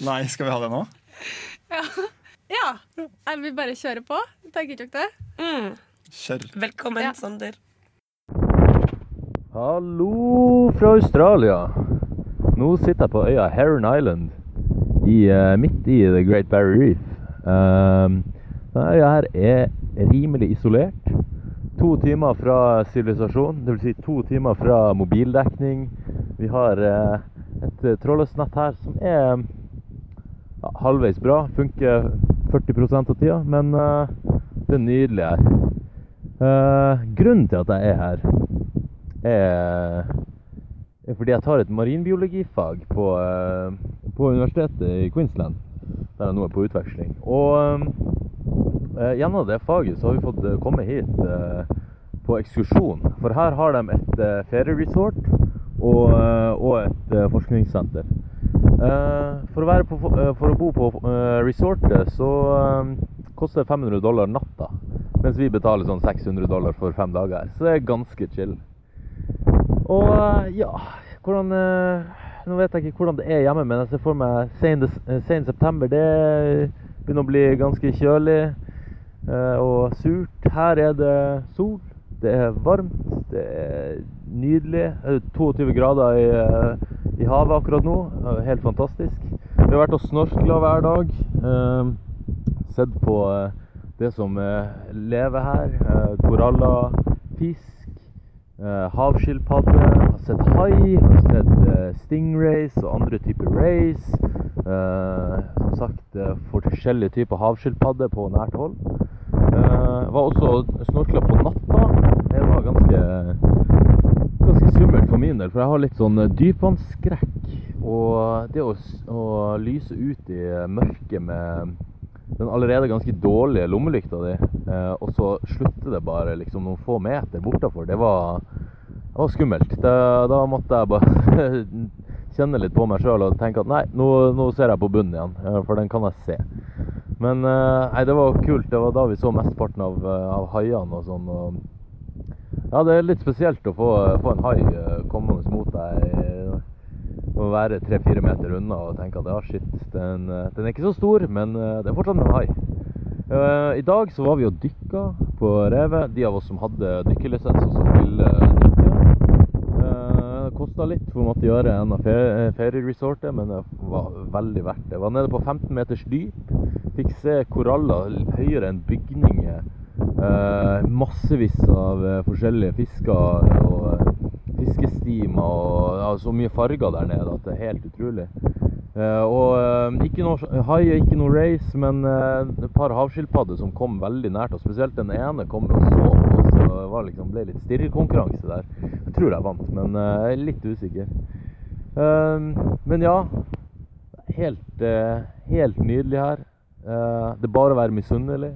S3: Nei, skal vi ha det nå?
S1: Ja! Jeg vil bare kjøre på. Tenker ikke dere det?
S2: Mm.
S3: Kjør.
S2: Velkommen,
S1: Ja.
S2: Sander.
S4: Hallo fra Australia. Nå sitter jeg på øya Heron Island, i, eh, midt i The Great Barrier Reef. Um, denne øya her er rimelig isolert. To timer fra sivilisasjon, dvs. Si to timer fra mobildekning. Vi har eh, et eh, trådløst nett her som er ja, halvveis bra. Funker 40 av tida, men eh, det er nydelig her. Eh, grunnen til at jeg er her er, er fordi jeg tar et marinbiologifag på, eh, på universitetet i Queensland, der jeg nå er på utveksling. Og eh, gjennom det faget så har vi fått eh, komme hit eh, på ekskursjon, for her har de et eh, ferieresort og, eh, og et eh, forskningssenter. Eh, for, å være på, fo- eh, for å bo på eh, resortet så eh, koster det 500 dollar natta, mens vi betaler sånn 600 dollar for fem dager. Så det er ganske chill. Og eh, ja, hvordan eh, Nå vet jeg ikke hvordan det er hjemme, men jeg ser for meg sen, des- eh, sen september. Det begynner å bli ganske kjølig eh, og surt. Her er det sol. Det er varmt. Det er nydelig. Eh, 22 grader i, eh, i havet akkurat nå. Eh, Helt fantastisk. Vi har vært og snorkla hver dag. eh, Sett på eh, det som eh, lever her. eh, Koraller, fisk. Eh, Havskilpadde, har sett hai, har sett eh, stingrays og andre typer rays. Eh, som sagt eh, for forskjellige typer havskilpadde på nært hold. Eh, var også og snorkla på natta. Det var ganske, ganske skummelt for min del, for jeg har litt sånn eh, dypvannsskrekk. Og det å, s- å lyse ut i eh, mørket med den allerede ganske dårlige lommelykta di, eh, og så slutter det bare liksom noen få meter bortafor, det var, det var skummelt. Det, da måtte jeg bare kjenne litt på meg sjøl og tenke at nei, nå, nå ser jeg på bunnen igjen, eh, for den kan jeg se. Men eh, nei, det var kult. Det var da vi så mesteparten av, eh, av haiene og sånn. Og ja, det er litt spesielt å få, få en hai eh, kommende mot deg. eh, Å være tre-fire meter unna og tenke at ja, shit, den, eh, den er ikke så stor, men eh, det er fortsatt en hai. Eh, I dag så var vi og dykka på revet, de av oss som hadde dykkerlisens og som ville dykke. Uh, Kosta litt, for vi måtte gjøre en av fe- eh, ferieresortet, men det var veldig verdt det. Var nede på 15 meters dyp, fikk se koraller høyere enn bygninger. Eh, massevis av eh, forskjellige fisker og og så mye farger der nede at det er helt utrolig. Eh, og eh, ikke noe hai, ikke noe race, men eh, et par havskilpadder som kom veldig nært. Og spesielt den ene kom og så på oss, og det var liksom, ble litt stirrekonkurranse der. Jeg tror jeg vant, men eh, jeg er litt usikker. Eh, men ja. Helt, eh, helt nydelig her. Eh, det er bare å være misunnelig.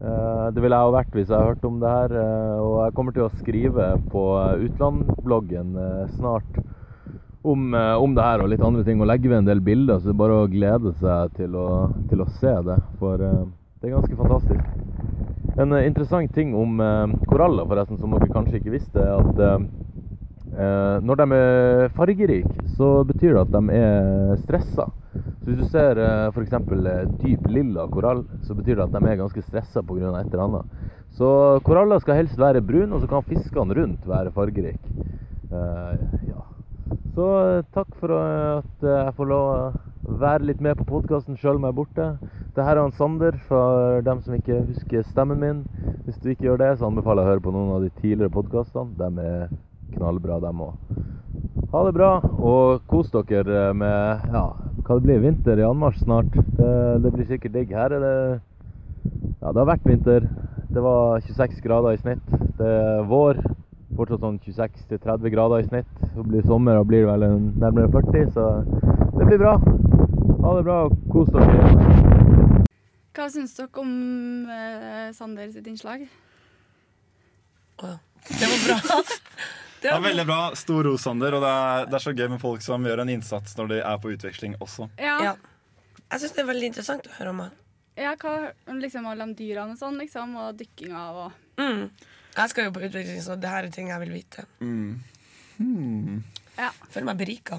S4: Eh, Det ville jeg jo vært hvis jeg hørte om det her. eh, Og jeg kommer til å skrive på eh, Utland-bloggen eh, snart om, eh, om det her og litt andre ting. Og legge ved en del bilder, så det er bare å glede seg til å, til å se det. For eh, det er ganske fantastisk. En eh, interessant ting om eh, koraller, forresten, som dere kanskje ikke visste, er at eh, eh, når de er fargerike, så betyr det at de er stressa. Så hvis du ser eh, for eksempel eh, dyp lilla korall, så betyr det at de er ganske stressa pga. et eller annet. Så koraller skal helst være brune, og så kan fiskene rundt være fargerike. Eh, ja. Så eh, takk for eh, at eh, jeg får lov å være litt med på podkasten sjøl om jeg er borte. Det her er han Sander, for dem som ikke husker stemmen min. Hvis du ikke gjør det, så anbefaler jeg å høre på noen av de tidligere podkastene. De er knallbra, dem òg. Ha det bra, og kos dere med ja, hva det blir vinter i anmarsj snart. Det, det blir sikkert digg. Her er det Ja, det har vært vinter. Det var 26 grader i snitt. Det er vår fortsatt sånn 26-30 grader i snitt. Så blir det sommer, da blir det vel en- nærmere 40, så det blir bra. Ha det bra, og kos dere.
S1: Hva syns dere om eh, Sander sitt innslag?
S2: Å, Det var bra. Det
S3: Det
S2: var
S3: er veldig bra. Stor ros, Sander. Og det er, det er så gøy med folk som gjør en innsats når de er på utveksling også.
S1: Ja,
S2: Ja.
S1: ja.
S2: Jeg syns det er veldig interessant å høre om. han.
S1: hva liksom alle de dyrene og sånn, liksom, og dykkinga og
S2: Mm. Jeg skal jo på utvikling, så det her er ting jeg vil vite.
S3: Mm. Hmm.
S1: Ja.
S2: Føler meg berika.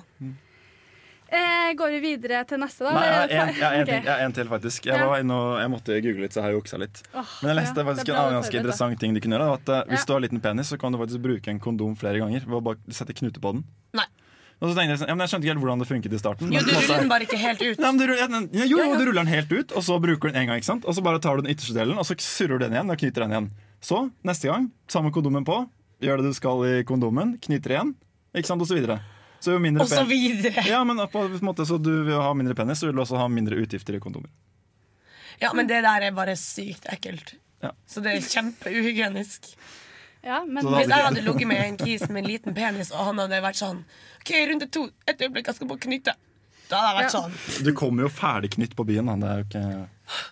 S1: Eh, går vi videre til neste, da?
S3: Nei, jeg har
S1: eller?
S3: en, jeg har en, ting,
S1: Ok.
S3: jeg har en til, faktisk. Jeg,
S1: Ja.
S3: var inne og, jeg måtte google litt, så jeg har juksa litt.
S1: Åh,
S3: Men jeg
S1: ja,
S3: leste
S1: det
S3: faktisk
S1: er
S3: en
S1: bra
S3: annen
S1: du
S3: ganske
S1: forberedte.
S3: interessant ting du kunne gjøre. At eh, Hvis
S1: Ja.
S3: du har liten penis, så kan du faktisk bruke en kondom flere ganger. Ved å bare sette knute på den.
S2: Nei.
S3: Og så tenkte Jeg sånn, ja, men jeg skjønte ikke helt hvordan det funket i starten.
S2: Jo,
S3: men
S2: du
S3: på en måte-
S2: ruller den bare ikke helt ut.
S3: Nei, men du, ruller- ja, den- ja, jo, jo, du ruller den helt ut, og så bruker du den en gang. ikke sant? Og så bare tar du den ytterste delen, og så surrer du den igjen og knyter den igjen. Så, neste gang, samme kondomen på, gjør det du skal i kondomen, knyter igjen, ikke sant, og så videre. Så jo mindre
S2: Og
S3: pen-
S2: så videre.
S3: ja, men på en måte, så du vil ha mindre penis, så vil du også ha mindre utgifter i kondomer.
S2: Ja, men det der er bare sykt ekkelt.
S3: Ja.
S2: Så det er kjempeuhygienisk.
S1: Ja, men
S3: Så da-
S2: Hvis jeg hadde ligget med en kis med en liten penis, og han hadde vært sånn OK, runde to. Et øyeblikk, jeg skal bare knytte. Da hadde jeg vært
S1: Ja.
S2: sånn.
S3: Du kommer jo ferdigknytt på byen, da. Det er jo ikke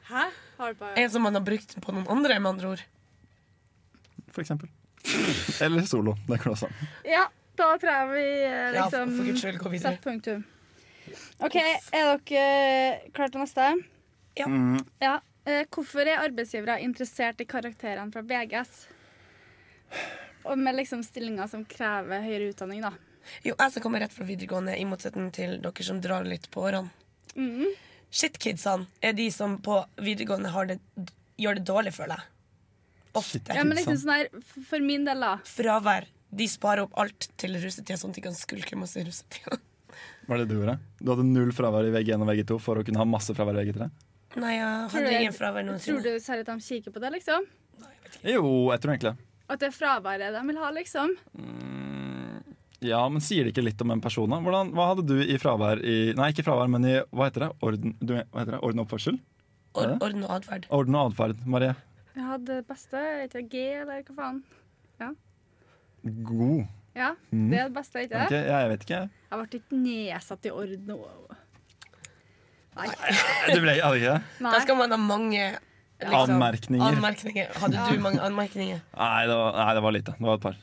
S1: Hæ? Har du bare
S2: En som man har brukt på noen andre, med andre ord.
S3: For eksempel. Eller solo. Det går også an.
S1: Ja, da tror jeg vi eh,
S2: Ja, for
S1: liksom
S2: for guds skyld, gå videre.
S1: setter punktum. OK, er dere klare til neste?
S2: Ja.
S3: Mm.
S1: ja. Eh, Hvorfor er arbeidsgivere interessert i karakterene fra VGS? Og med liksom stillinger som krever høyere utdanning, da.
S2: Jo, jeg som kommer rett fra videregående, i motsetning til dere som drar litt på årene.
S1: Mm.
S2: Shitkidsa er de som på videregående har det, gjør det dårlig, føler jeg. Ofte.
S1: Ja, men liksom
S3: Sånn.
S1: sånn her, f- For min del, da.
S2: Fravær. De sparer opp alt til russetida, sånn at de kan skulke masse i russetida.
S3: Var det det du gjorde? Du hadde null fravær i VG1 og VG2 for å kunne ha masse fravær i VG3?
S2: Nei, jeg hadde ingen fravær
S1: tror
S2: noensinne.
S1: du seriøst de kikker på det, liksom?
S3: Jo, jeg tror egentlig det.
S1: At det er fraværet de vil ha, liksom?
S3: Mm, Ja, men sier det ikke litt om en person, da? Hvordan, hva hadde du i fravær i Nei, ikke fravær, men i hva heter det? Orden, du, hva heter det? Orden og oppførsel?
S2: Or orden og atferd.
S3: Orden og atferd, Marie.
S1: Jeg hadde det beste, ikke G, eller hva faen.
S3: God.
S1: Ja, det er det beste, ikke det?
S3: Ok, jeg, jeg vet ikke.
S1: Jeg ble ikke nedsatt i orden. og- Nei.
S3: Du ble hadde ikke det?
S2: Da
S1: Nei.
S2: skal man ha mange liksom,
S3: Anmerkninger.
S2: anmerkninger. Hadde du mange anmerkninger?
S3: Nei, det var, nei, det var lite. Det var et par.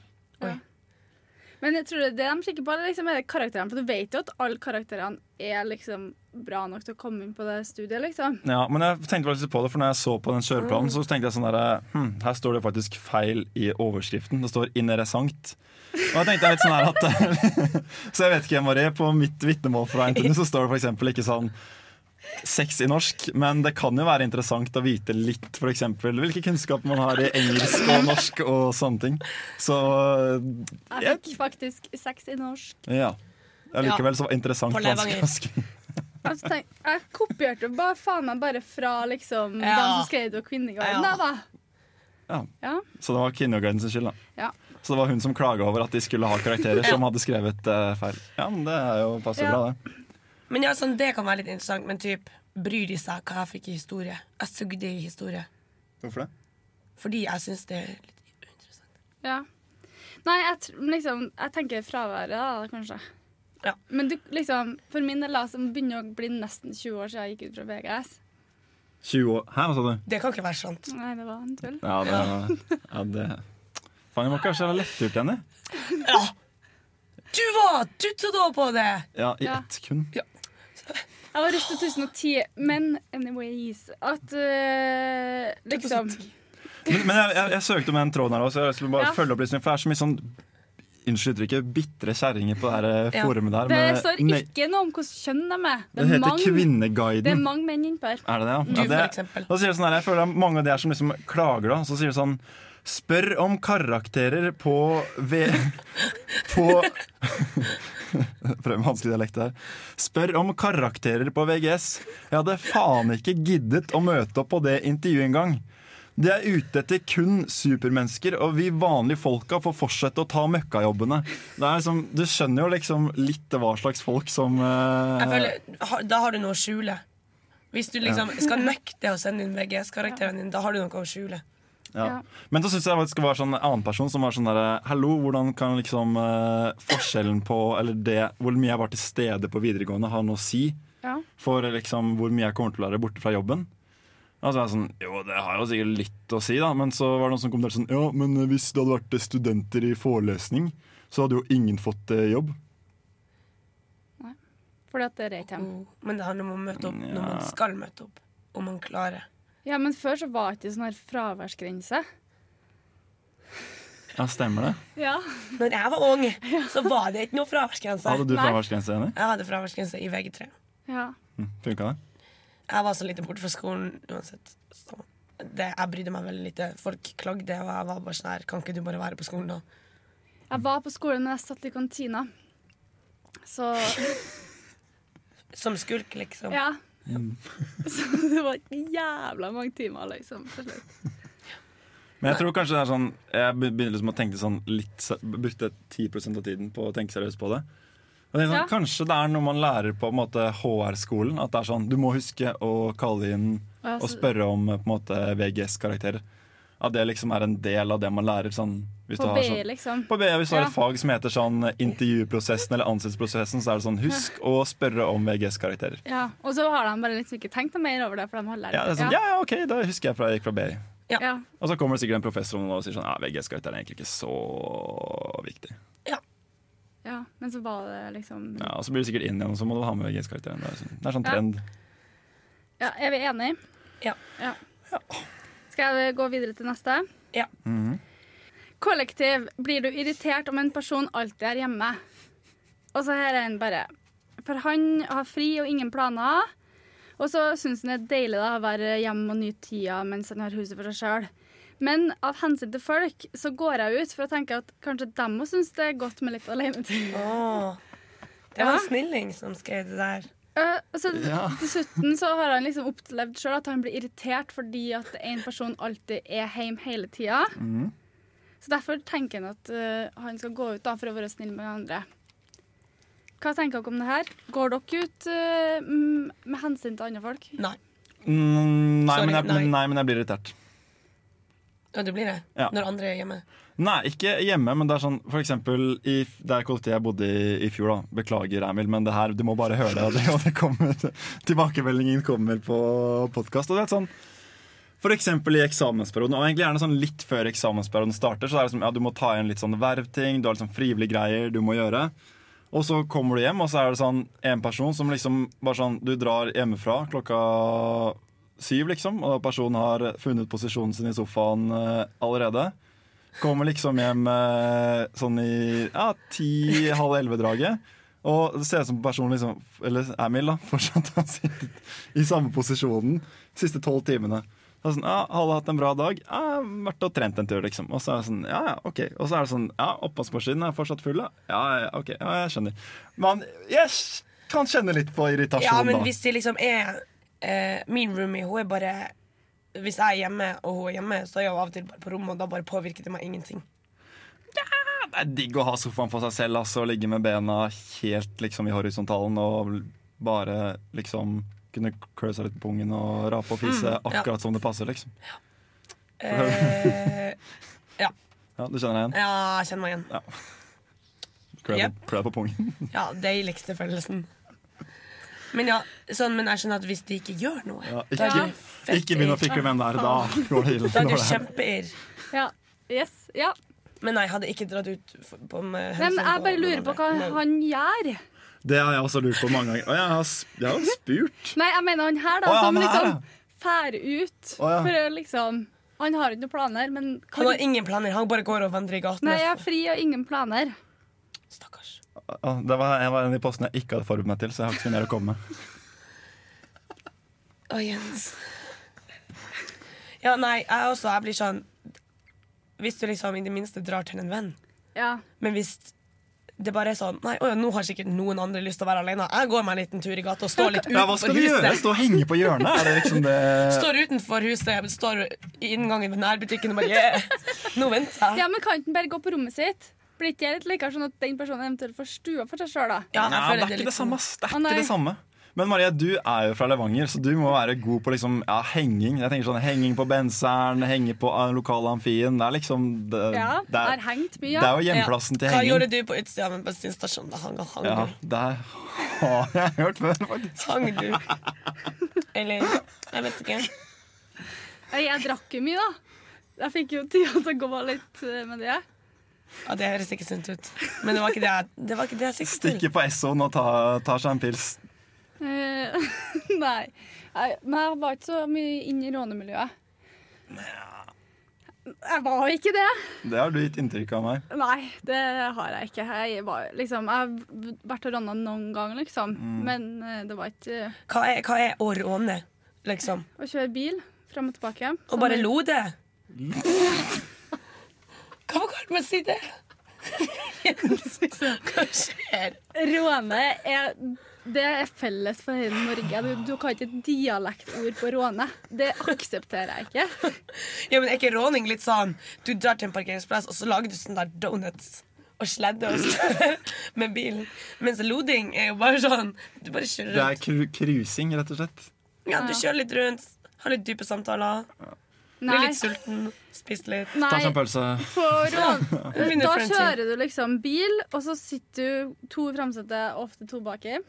S1: Men jeg tror det de kikker på, er liksom, er karakterene. For du vet jo at alle karakterene er liksom bra nok til å komme inn på det studiet, liksom.
S3: Ja, men jeg tenkte faktisk på det, for når jeg så på den kjøreplanen, så tenkte jeg sånn der hm, Her står det faktisk feil i overskriften. Det står 'interessant'. Og jeg tenkte litt sånn her at Så jeg vet ikke, Marie, på mitt vitnemål fra NTNU så står det f.eks. ikke sånn Sex i norsk, men det kan jo være interessant å vite litt for eksempel, hvilke kunnskaper man har i engelsk og norsk og sånne ting. Så
S1: Jeg
S3: jeg,
S1: fikk faktisk sex i norsk.
S3: ja. Allikevel så var interessant
S2: På
S3: vanskelig.
S2: Levanger.
S3: vanskelig.
S1: Jeg, tenkte, Altså, jeg kopierte bare faen meg bare fra liksom
S2: Ja.
S1: dem som skrev det, og Kvinneguiden,
S2: Ja.
S1: da.
S3: Ja.
S1: Ja.
S3: Så det var kvinneguidens skyld, da.
S1: Ja.
S3: Så det var hun som klaga over at de skulle ha karakterer som hadde skrevet eh, feil. Ja, men Det er jo passer
S1: Ja.
S3: bra, det.
S2: Men ja, sånn, Det kan være litt interessant, men typ, bryr de seg hva jeg fikk i historie? Jeg sugde i historie.
S3: Hvorfor det?
S2: Fordi jeg syns det er litt uinteressant.
S1: Ja. Nei, jeg, tr- men liksom, jeg tenker fraværet, da, kanskje.
S2: Ja.
S1: Men du, liksom, for min del, da, som begynner å bli nesten 20 år siden jeg gikk ut fra VGS
S3: 20 år Hæ, hva sa du?
S2: Det kan ikke være sant.
S1: Nei, det var en tull.
S3: Ja, det, ja, det. Faen, jeg må kanskje ha lettgjort henne.
S2: Ja! Du var tuttedå på det!
S3: Ja, i
S1: Ja.
S3: ett sekund.
S1: Jeg var rustet 2010, men anyways At øh, liksom
S3: Men, men jeg, jeg, jeg søkte med en tråd her også, så jeg skulle bare
S1: Ja.
S3: følge opp lysningen, for det er så mye sånn Unnskyld uttrykket, bitre kjerringer på det her eh,
S2: Ja.
S3: forumet der.
S1: Det
S3: med-
S1: står
S3: nei,
S1: ikke noe om hvordan kjønn de er. Det
S3: det
S1: er,
S3: heter
S1: mange, det er
S3: Kvinneguiden.
S1: mange menn innpå her.
S3: Er det det, ja?
S2: Du,
S3: ja
S2: for
S3: det,
S2: eksempel.
S3: da sier det sånn her, jeg føler det er mange av de her som liksom klager, da. Så sier det sånn Spør om karakterer på V... På Prøv med vanskelig dialekt her. Spør om karakterer på VGS. Jeg hadde faen ikke giddet å møte opp på det intervjuet engang. De er ute etter kun supermennesker, og vi vanlige folka får fortsette å ta møkkajobbene. Det er liksom, du skjønner jo liksom litt hva slags folk som eh,
S2: Jeg føler, ha- da har du noe å skjule. Hvis du liksom skal nekte å sende inn VGS-karakteren din, da har du noe å skjule.
S3: Ja.
S1: Ja.
S3: Men da syns jeg faktisk det var sånn en annen person som var sånn derre Hallo, hvordan kan liksom eh, forskjellen på Eller det hvor mye jeg var til stede på videregående, ha noe å si
S1: Ja.
S3: for liksom hvor mye jeg kommer til å være borte fra jobben? Og så er jeg sånn Jo, det har jo sikkert litt å si, da. Men så var det noen som kommenterte sånn Ja, men hvis det hadde vært eh, studenter i forelesning, så hadde jo ingen fått eh, jobb.
S1: Fordi at det er ikke dem.
S2: Oh, Men det handler om å møte opp når man skal møte opp. Om man klarer.
S1: Ja, men før så var det ikke sånn her fraværsgrense.
S3: Ja, stemmer det?
S1: Ja.
S2: Når jeg var ung, så var det ikke noe fraværsgrense.
S3: Hadde du
S1: Nei.
S3: fraværsgrense, Jenny?
S2: Jeg hadde fraværsgrense i VG3.
S1: ja.
S3: Funka det?
S2: Jeg var så lite borte fra skolen uansett. Så det, jeg brydde meg veldig lite. Folk klagde, og jeg var bare sånn her Kan ikke du bare være på skolen, da?
S1: Jeg var på skolen når jeg satt i kantina. Så
S2: Som skulk, liksom.
S1: ja.
S3: Mm.
S1: Så det var jævla mange timer, liksom. Til slutt.
S3: Men jeg tror kanskje det er sånn Jeg be- begynner liksom å tenke sånn litt se- Brukte 10 av tiden på å tenke seriøst på det. Og det er sånn,
S1: Ja.
S3: Kanskje det er noe man lærer på, på en måte HR-skolen. At det er sånn, du må huske å kalle inn
S1: Ja,
S3: og
S1: så-
S3: spørre om på en måte VGS-karakterer. At det liksom er en del av det man lærer. Sånn, hvis
S1: På
S3: du har
S1: BI,
S3: sånn,
S1: liksom.
S3: på BI, hvis du har
S1: Ja.
S3: et fag som heter sånn intervjuprosessen eller ansettelsesprosessen, så er det sånn husk å spørre om VGS-karakterer.
S1: Ja. Og så har de bare liksom ikke tenkt noe mer over det, for de har lært
S3: Ja, det er sånn, ja, ja, ok, da husker jeg fra jeg gikk fra BI.
S1: Ja.
S3: Og så kommer det sikkert en professor om noen år og sier sånn, ja, VGS-karakter er egentlig ikke så viktig.
S1: Ja, Men så var det liksom
S3: Ja, og så blir du sikkert inn igjen, og så må du ha med VGS-karakteren. Det er sånn, det er sånn trend.
S1: Ja, Er vi enige?
S2: Ja.
S1: ja. Skal jeg gå videre til neste?
S2: Ja.
S1: Kollektiv. Blir du irritert om en person alltid er hjemme? Og så her er en bare For han har fri og ingen planer. Og så syns han det er deilig da, å være hjemme og nyte tida mens han har huset for seg sjøl. Men av hensyn til folk så går jeg ut for å tenke at kanskje dem òg syns det er godt med litt alenetid.
S2: Åh. Det var
S1: Ja.
S2: en snilling som skrev det der.
S1: Eh, altså,
S3: Ja.
S1: Dessuten så har han liksom opplevd sjøl at han blir irritert fordi at en person alltid er hjemme hele tida.
S3: Mm.
S1: Så derfor tenker han at eh, han skal gå ut da for å være snill med andre. Hva tenker dere om det her? Går dere ut eh, mm, med hensyn til andre folk?
S2: Nei.
S3: Mm, nei,
S2: Sorry,
S3: men jeg,
S2: nei.
S3: nei, men jeg blir irritert.
S2: Og du blir det?
S3: Ja.
S2: Når andre er hjemme?
S3: Nei, ikke hjemme, men det er sånn for eksempel i f- der kollektivet jeg bodde i i fjor, da. Beklager, Emil, men det her, du må bare høre det. Og det, og det kommer, tilbakemeldingen kommer på podkast. Og det er sånn For eksempel i eksamensperioden, og egentlig gjerne sånn litt før eksamensperioden starter, så er det sånn, ja, du må ta igjen litt sånn vervting, du har litt sånn frivillige greier du må gjøre. Og så kommer du hjem, og så er det sånn en person som liksom bare sånn Du drar hjemmefra klokka syv, liksom, og personen har funnet posisjonen sin i sofaen eh, allerede. Kommer liksom hjem eh, sånn i ja, ti-halv elleve-draget. Og det ser ut som personen liksom Eller Emil, da. Fortsatt har sittet i samme posisjonen de siste tolv timene. Så er det sånn, ja, Alle har hatt en bra dag. Ja, vært og trent en tur, liksom. Og så er det sånn, ja, ja, ok. Og så er det sånn, ja, oppvaskmaskinen er fortsatt full, da. Ja, ja, ok, ja, jeg skjønner. Men jeg s- kan kjenne litt på irritasjon,
S2: Ja, men
S3: da.
S2: hvis de liksom er eh, Min roomie, hun er bare Hvis jeg er hjemme, og hun er hjemme, så er jeg jo av og til bare på rommet, og da bare påvirker det meg ingenting.
S3: det er digg å ha sofaen for seg selv altså, og ligge med bena helt liksom, i horisontalen og bare liksom kunne klø seg litt på pungen og rape
S2: Mm,
S3: og fise akkurat som det passer. liksom.
S2: Eh,
S3: Ja, Du kjenner deg igjen?
S2: ja, jeg kjenner meg igjen.
S3: Klø deg-
S2: Yep.
S3: klø deg på pungen.
S2: Ja, Deiligste følelsen. Men ja, sånn, men jeg skjønner at hvis de ikke gjør noe
S3: Ja,
S2: da er
S3: ikke,
S2: det fett
S3: ikke begynn å fikle med den der. Da går det ille.
S2: Da er det
S3: Går det-
S2: kjempeirr.
S1: Ja. Yes. Ja.
S2: Men nei, jeg hadde ikke dratt ut f- på med
S1: Nei, men
S2: helsing
S1: jeg bare
S2: noen
S1: lurer på hva
S2: andre. Men-
S1: han gjør.
S3: Det har jeg også lurt på mange ganger. Og jeg har, s- jeg har spurt.
S1: Nei, jeg mener han her, da,
S3: Å, ja,
S1: som
S3: han her,
S1: liksom
S3: ja.
S1: fær ut
S3: Å, ja.
S1: for å liksom Han har ikke noen planer, men
S2: Han har ingen planer. Han bare går og vandrer i gatene.
S1: Nei, jeg er fri og ingen planer.
S2: Stakkars.
S3: Å, Det var en av de postene jeg ikke hadde forberedt meg til, så jeg har ikke så mye mer å komme med.
S2: Mm. Å, Jens. Ja, nei, jeg også. Jeg blir sånn Hvis du liksom i det minste drar til en venn,
S1: Ja.
S2: men hvis det bare er sånn Nei, å, ja, nå har sikkert noen andre lyst til å være alene. Jeg går meg en liten tur i gata og står litt
S3: Ja, hva
S2: utenfor
S3: skal du gjøre?
S2: huset.
S3: Stå og henge på hjørnet? Er det liksom det
S2: Står utenfor huset, står i inngangen ved nærbutikken og bare yeah. Nå venter jeg.
S1: ja, men kan ikke han bare gå på rommet sitt? Blir ikke det litt likere sånn at den personen eventuelt får stua for seg sjøl, da?
S2: Ja, jeg
S3: Nei,
S2: føler
S3: det er ikke
S2: litt sånn.
S3: det samme. ass. Det er
S1: Å, nei.
S3: ikke det samme. Men Maria, du er jo fra Levanger, så du må være god på liksom, ja, henging. Jeg tenker sånn, Henging på benseren, henge på eh, lokale amfien. Det er liksom Det,
S1: Ja,
S3: det,
S1: har
S3: er,
S1: hengt
S3: det
S1: mye. Ja.
S3: er jo hjemplassen til
S2: Hva gjorde
S3: henging.
S2: du på utsida av en bensinstasjon? Da hang, hang,
S3: Ja,
S2: du.
S3: det har jeg hørt før, faktisk.
S2: hang du? Eller Jeg vet ikke.
S1: Nei, Jeg drakk jo mye, da. Jeg fikk jo tida til å gå litt eh, med det.
S2: Ja, det høres ikke sunt ut. Men det var ikke det jeg, det var ikke det jeg siktet til.
S3: Stikke på Essoen og ta, ta seg en pils.
S1: Eh, nei. Nei, Men jeg var ikke så mye inne i rånemiljøet. Jeg var ikke det.
S3: Det har du gitt inntrykk av meg.
S1: Nei, det har jeg ikke. Jeg, var, liksom, jeg har vært og rana noen gang, liksom.
S2: Mm.
S1: Men eh, det var ikke eh,
S2: Hva er, hva er å råne, liksom?
S1: å kjøre bil fram og tilbake.
S2: Og bare lo det? Hva var galt med å si det? Hva skjer?
S1: Råne er det er felles for hele Norge. Du, du kan ikke et dialektord på råne. Det aksepterer jeg ikke.
S2: Ja, men Er ikke råning litt sånn Du drar til en parkeringsplass, og så lager du sånne der donuts og sleddeost med bilen? Mens loding er jo bare sånn Du bare kjører
S3: Det er
S2: rundt.
S3: cru- cruising, rett og slett.
S2: Ja, du kjører litt rundt, har litt dype samtaler,
S1: Nei.
S2: blir litt sulten, spiser litt.
S3: Ta seg en
S1: Nei,
S3: pølse.
S1: på råne
S2: Begynner
S1: Da
S2: for en tid.
S1: kjører du liksom bil, og så sitter du to i framsete og ofte to baki.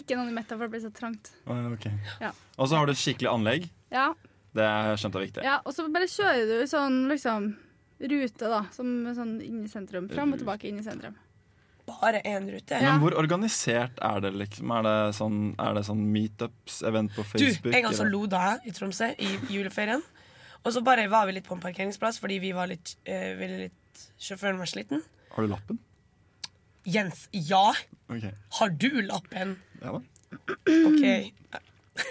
S1: Ikke noen i midten, for det blir så trangt.
S3: Å, ok.
S1: Ja.
S3: Og så har du et skikkelig anlegg.
S1: Ja,
S3: Det er skjønt er viktig.
S1: ja, Og så bare kjører du sånn liksom rute, da, som sånn inn i sentrum. Fram og tilbake inn i sentrum.
S2: Bare én rute.
S1: Ja.
S3: Men hvor organisert er det? liksom? Er det sånn, er det sånn meetups, event på
S2: Du,
S3: Facebook?
S2: en gang så
S3: eller-
S2: loda jeg altså i Tromsø i juleferien. Og så bare var vi litt på en parkeringsplass fordi vi var litt, eh, ville litt Sjåføren var sliten.
S3: Har du lappen?
S2: Jens, ja!
S3: Ok,
S2: Har du lappen?
S3: ja da.
S2: OK.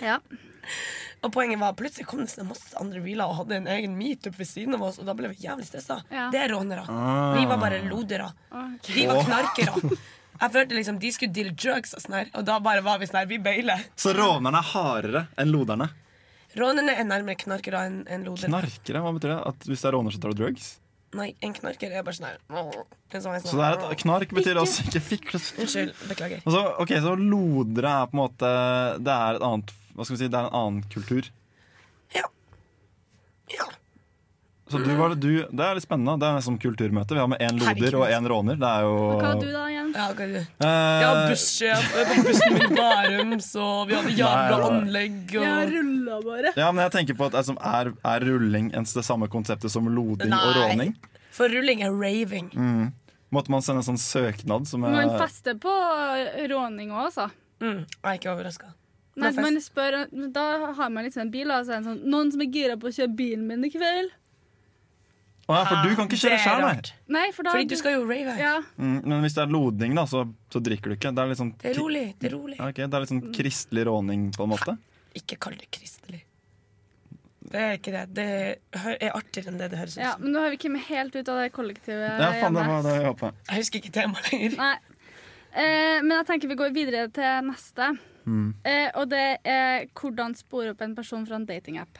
S1: Ja.
S2: Og poenget var plutselig kom det sånn masse andre biler og hadde en egen meetup ved siden av oss, og da ble vi jævlig stressa.
S1: Ja.
S2: Det er rånere.
S3: Ah.
S2: Vi var bare lodere.
S1: Ok.
S2: De var knarkere. Jeg følte liksom De skulle deale drugs og sånn her, og da bare var vi sånn her. Vi bøyler.
S3: Så rånerne er hardere enn loderne?
S2: Rånerne er nærmere knarkere enn enn lodere.
S3: Knarkere, hva betyr det? At hvis det er råner, så tar du drugs?
S2: Nei, en knarker er bare sånn her. En sånn, en sånn.
S3: Så det er at knark betyr også ikke fikle
S2: Unnskyld. Beklager.
S3: Og så, Ok, så lodere er på en måte Det er et annet Hva skal vi si, det er en annen kultur.
S2: Ja. ja.
S3: Så du var det du Det er litt spennende. Det er som kulturmøte. Vi har med én loder og én råner. Det er jo
S1: Hva har du da, Jens?
S2: Ja, hva er det?
S3: Eh,
S2: Jeg var bussjef jeg var på bussen min i Bærum, så vi hadde jævla
S3: Nei, nei.
S2: anlegg
S1: Jeg har
S2: og
S1: rulla bare.
S3: Ja, men jeg tenker på at altså, er, er rulling ens det samme konseptet som loding og
S2: Nei.
S3: råning?
S2: For rulling er raving.
S3: Mm. Måtte man sende en sånn søknad som er
S1: Man fester på råning òg, altså.
S2: Mm. Jeg er ikke overraska.
S1: Nei,
S2: Men fest-
S1: man spør, da har man liksom en bil, og så er det sånn Noen som er gira på å kjøre bilen min i kveld?
S3: Å ja, For du kan ikke kjøre
S2: Det er
S3: sjøl, nei.
S2: rart.
S1: Nei, for da
S2: Fordi du skal jo rave.
S1: Ja.
S3: Mm, men hvis det er loding, da, så, så drikker du ikke. Det er litt sånn,
S2: Det er rolig. det er rolig
S3: Ja, ok, det er litt sånn kristelig råning, på en måte.
S2: Ikke kall det kristelig. Det er ikke det. Det hø- er artigere enn det det høres ut
S1: ja.
S2: som.
S1: Men nå har vi kommet helt ut av det kollektivet.
S3: Ja, faen, det
S1: hjemme.
S3: var det jeg håpet.
S2: Jeg husker ikke temaet lenger.
S1: Nei. Eh, men jeg tenker vi går videre til neste.
S3: Mm.
S1: Eh, og det er hvordan spore opp en person fra en datingapp.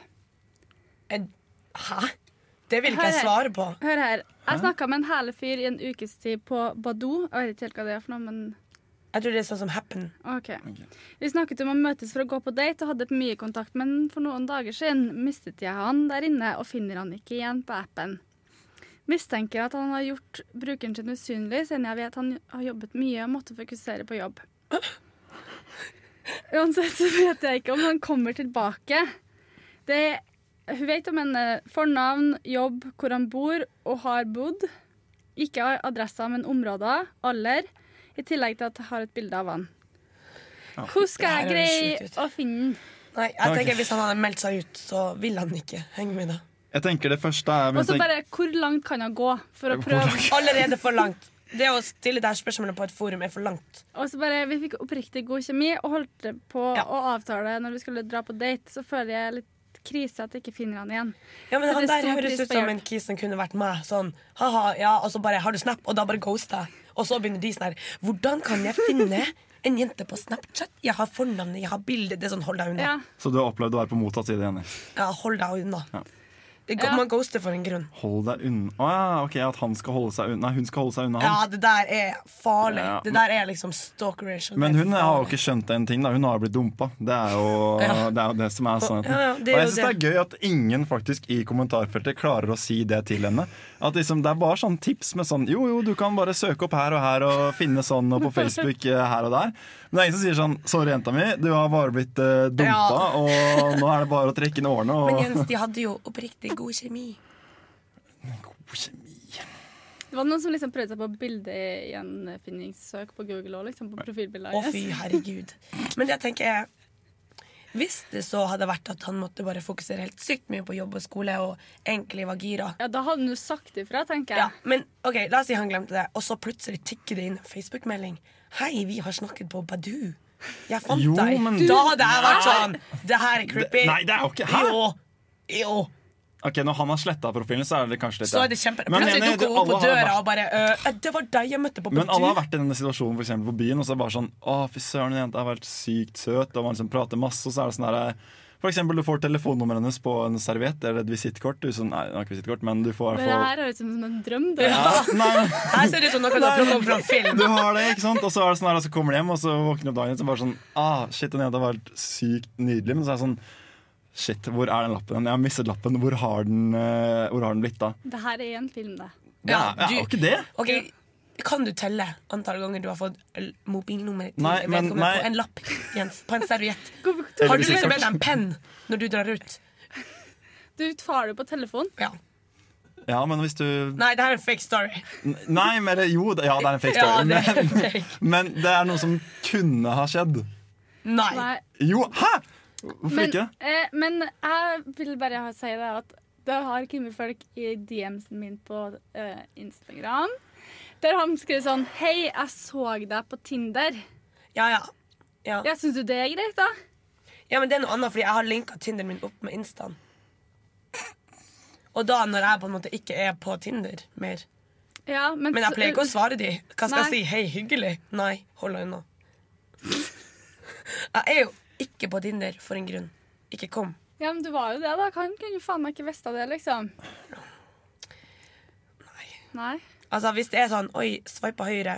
S2: En- Hæ? Det vil ikke jeg svare på.
S1: Hør her. Jeg snakka med en hælerfyr i en ukes tid på Badoo. Jeg vet ikke helt hva det er for noe, men
S2: Jeg tror det er sånn som happen.
S1: OK. Vi snakket om å møtes for å gå på date og hadde mye kontakt, men for noen dager siden mistet jeg han der inne og finner han ikke igjen på appen. Mistenker at han har gjort brukeren sin usynlig, siden jeg vet han har jobbet mye og måtte fokusere på jobb. Uansett så vet jeg ikke om han kommer tilbake. Det, hun vet om henne fornavn, jobb, hvor han bor og har bodd. Ikke adressa, men områder, alder, i tillegg til at jeg har et bilde av han. Hvordan skal jeg
S2: Det her høres sjukt ut.
S1: greie å finne den?
S2: Nei, jeg tenker Hvis han hadde meldt seg ut, så vil han ikke henge med. da
S3: Jeg tenker det første er
S1: Og så
S3: tenk-
S1: bare hvor langt kan jeg gå for å prøve?
S2: Allerede for langt. Det å stille det her spørsmålet på et forum er for langt.
S1: Og så bare, Vi fikk oppriktig god kjemi og holdt på
S2: Ja.
S1: å avtale når vi skulle dra på date. Så føler jeg litt krise at jeg ikke finner han igjen.
S2: Ja, men
S1: Det
S2: Han
S1: er
S2: der
S1: stor
S2: høres
S1: pris
S2: ut
S1: på
S2: som
S1: hjelp.
S2: en kis som kunne vært meg. Sånn, haha, ja, Og så bare har du Snap, og da bare ghoster jeg. Og så begynner de sånn her. Hvordan kan jeg finne en jente på Snapchat? Jeg har fornavnet, jeg har bildet. Det er sånn, hold deg unna.
S1: Ja.
S3: Så du har opplevd å være på motsatt side, Jenny?
S2: Ja, hold deg unna. Det går-
S1: Ja.
S2: Man ghoster for en grunn.
S3: Hold deg unna Å ja, ok, at han skal holde seg unna Nei, hun skal holde seg unna han.
S2: Ja, det der er farlig.
S3: Ja.
S2: Det der er liksom stalkerish. og
S3: Men
S2: det er
S3: hun har jo
S2: farlig.
S3: ikke skjønt en ting, da. Hun har jo blitt dumpa. Det er jo
S2: Ja.
S3: det, er jo det som er sannheten.
S2: Ja, ja, det er
S3: og jeg
S2: jo
S3: syns det er gøy at ingen faktisk i kommentarfeltet klarer å si det til henne. At liksom, Det er bare sånn tips med sånn Jo, jo, du kan bare søke opp her og her og finne sånn, og på Facebook eh, her og der. Men det er ingen som sier sånn Sorry, jenta mi, du har bare blitt eh, dumpa,
S2: Ja.
S3: og nå er det bare å trekke inn årene
S2: Men
S3: og
S2: Jens, de hadde jo oppriktig god kjemi.
S3: God kjemi.
S1: Det var noen som liksom prøvde seg på bildegjenfinningssøk på Google og liksom på profilbildet
S2: Å,
S1: hans.
S2: fy herregud. Men det jeg tenker er Hvis det så hadde vært at han måtte bare fokusere helt sykt mye på jobb og skole og egentlig var gira
S1: Ja, da hadde han jo sagt ifra, tenker jeg.
S2: ja, Men ok, la oss si han glemte det, og så plutselig tikker det inn en Facebook-melding. Hei, vi har snakket på Badoo. Jeg fant
S3: Jo,
S2: deg.
S3: men-
S2: Da hadde jeg vært sånn. Det her er creepy.
S3: Nei, det er jo ikke Hæ?
S2: Jo. Jo.
S3: Ok, Når han har sletta profilen, så er det kanskje litt
S2: Så er det kjempe
S3: Men
S2: Plutselig
S3: Jenny, du-
S2: dukker hun opp på
S3: alle har
S2: døra og bare «Øh, Det var deg jeg møtte på
S3: Men alle har
S2: Badoo.
S3: vært i denne situasjonen for eksempel på byen, og så er det bare sånn Å, fy søren, den jenta har vært sykt søt, og man liksom prater masse, og så er det sånn der For eksempel, du får telefonnummeret hennes på en serviett eller et visittkort. Du sånn, nei, det var ikke visittkort, men du får i
S1: Men
S3: hvert
S1: det
S3: fall
S1: her høres ut som en drøm. Det.
S3: ja, nei, men-
S2: Her ser det ut som noe du har plukket opp fra en film.
S3: du har det, ikke sant? Og så er det sånn her, og så kommer du hjem, og så våkner du opp dagen etter og bare sånn ah, Shit, den jenta har vært sykt nydelig. Men så er det sånn Shit, hvor er den lappen? Jeg har mistet lappen. Hvor har den, eh, hvor har den blitt av?
S1: det her er en film, det.
S3: Det er
S2: Ja,
S3: det er jo
S2: du-
S3: ikke det.
S2: Ok, Kan du telle antall ganger du har fått l- mobilnummeret til
S3: Nei, men-
S2: vedkommende
S3: nei.
S2: på en lapp? Jens, på en serviett.
S1: Hvorfor-
S3: Eller
S2: Har du
S3: visitkort.
S2: liksom med deg en penn når du drar ut?
S1: Du tar det på telefon.
S2: Ja.
S3: Ja, men hvis du
S2: Nei, det her er en fake story.
S3: Nei, men det- jo, det- ja, det er en fake story.
S2: Ja, det er
S3: men,
S2: en fake.
S3: Men det er noe som kunne ha skjedd.
S2: Nei.
S1: Nei.
S3: Jo, hæ?! Hvorfor
S1: Men,
S3: ikke?
S1: eh, men jeg vil bare ha- si det at det har kommet folk i DM-en min på eh, Instagram. Der har de skrevet sånn Hei, jeg så deg på Tinder.
S2: Ja, ja. Ja.
S1: Ja, Syns du det er greit, da?
S2: ja, men det er noe annet, fordi jeg har linka Tinderen min opp med Instaen. Og da, når jeg på en måte ikke er på Tinder mer
S1: Ja, men,
S2: Men jeg pleier ikke å svare de. Hva skal
S1: Nei.
S2: jeg si? Hei, hyggelig? Nei, hold deg unna. Jeg er jo ikke på Tinder for en grunn. Ikke kom.
S1: Ja, men du var jo det, da. Han kunne jo faen meg ikke visst av det, liksom. Nei.
S2: Altså Hvis det er sånn Oi, sveipa høyre,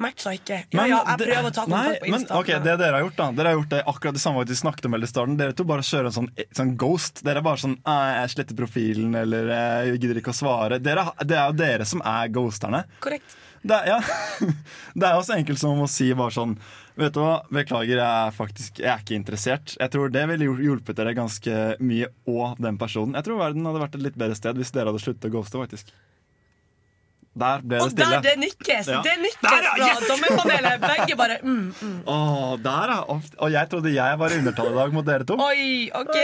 S2: matcha ikke. Ja,
S3: Men
S2: ja, jeg
S3: det-
S2: prøver å ta kontakt
S3: nei,
S2: på Insta.
S3: Men, ok, det dere har gjort, da Dere har gjort det akkurat det samme vi snakket om helt i starten. Dere to bare kjører en sånn, sånn ghost. Dere er bare sånn «Nei, 'Jeg sletter profilen', eller eh, 'Jeg gidder ikke å svare'. Dere, har- det er jo dere som er ghosterne.
S2: Korrekt.
S3: Det er, ja. det er jo så enkelt som å si bare sånn Vet du hva, beklager, jeg er faktisk Jeg er ikke interessert. Jeg tror det ville hjul- hjulpet dere ganske mye, og den personen. Jeg tror verden hadde vært et litt bedre sted hvis dere hadde sluttet å ghoste, faktisk. Der ble det
S2: Og der,
S3: stille.
S2: det nikkes!
S3: Ja.
S2: Det nikkes
S3: Der, ja,
S2: fra
S3: yes!
S2: dommerpanelet. Begge bare mm, mm.
S3: Åh, der ja. Og, og jeg trodde jeg var i undertall i dag mot dere to.
S2: Oi, OK.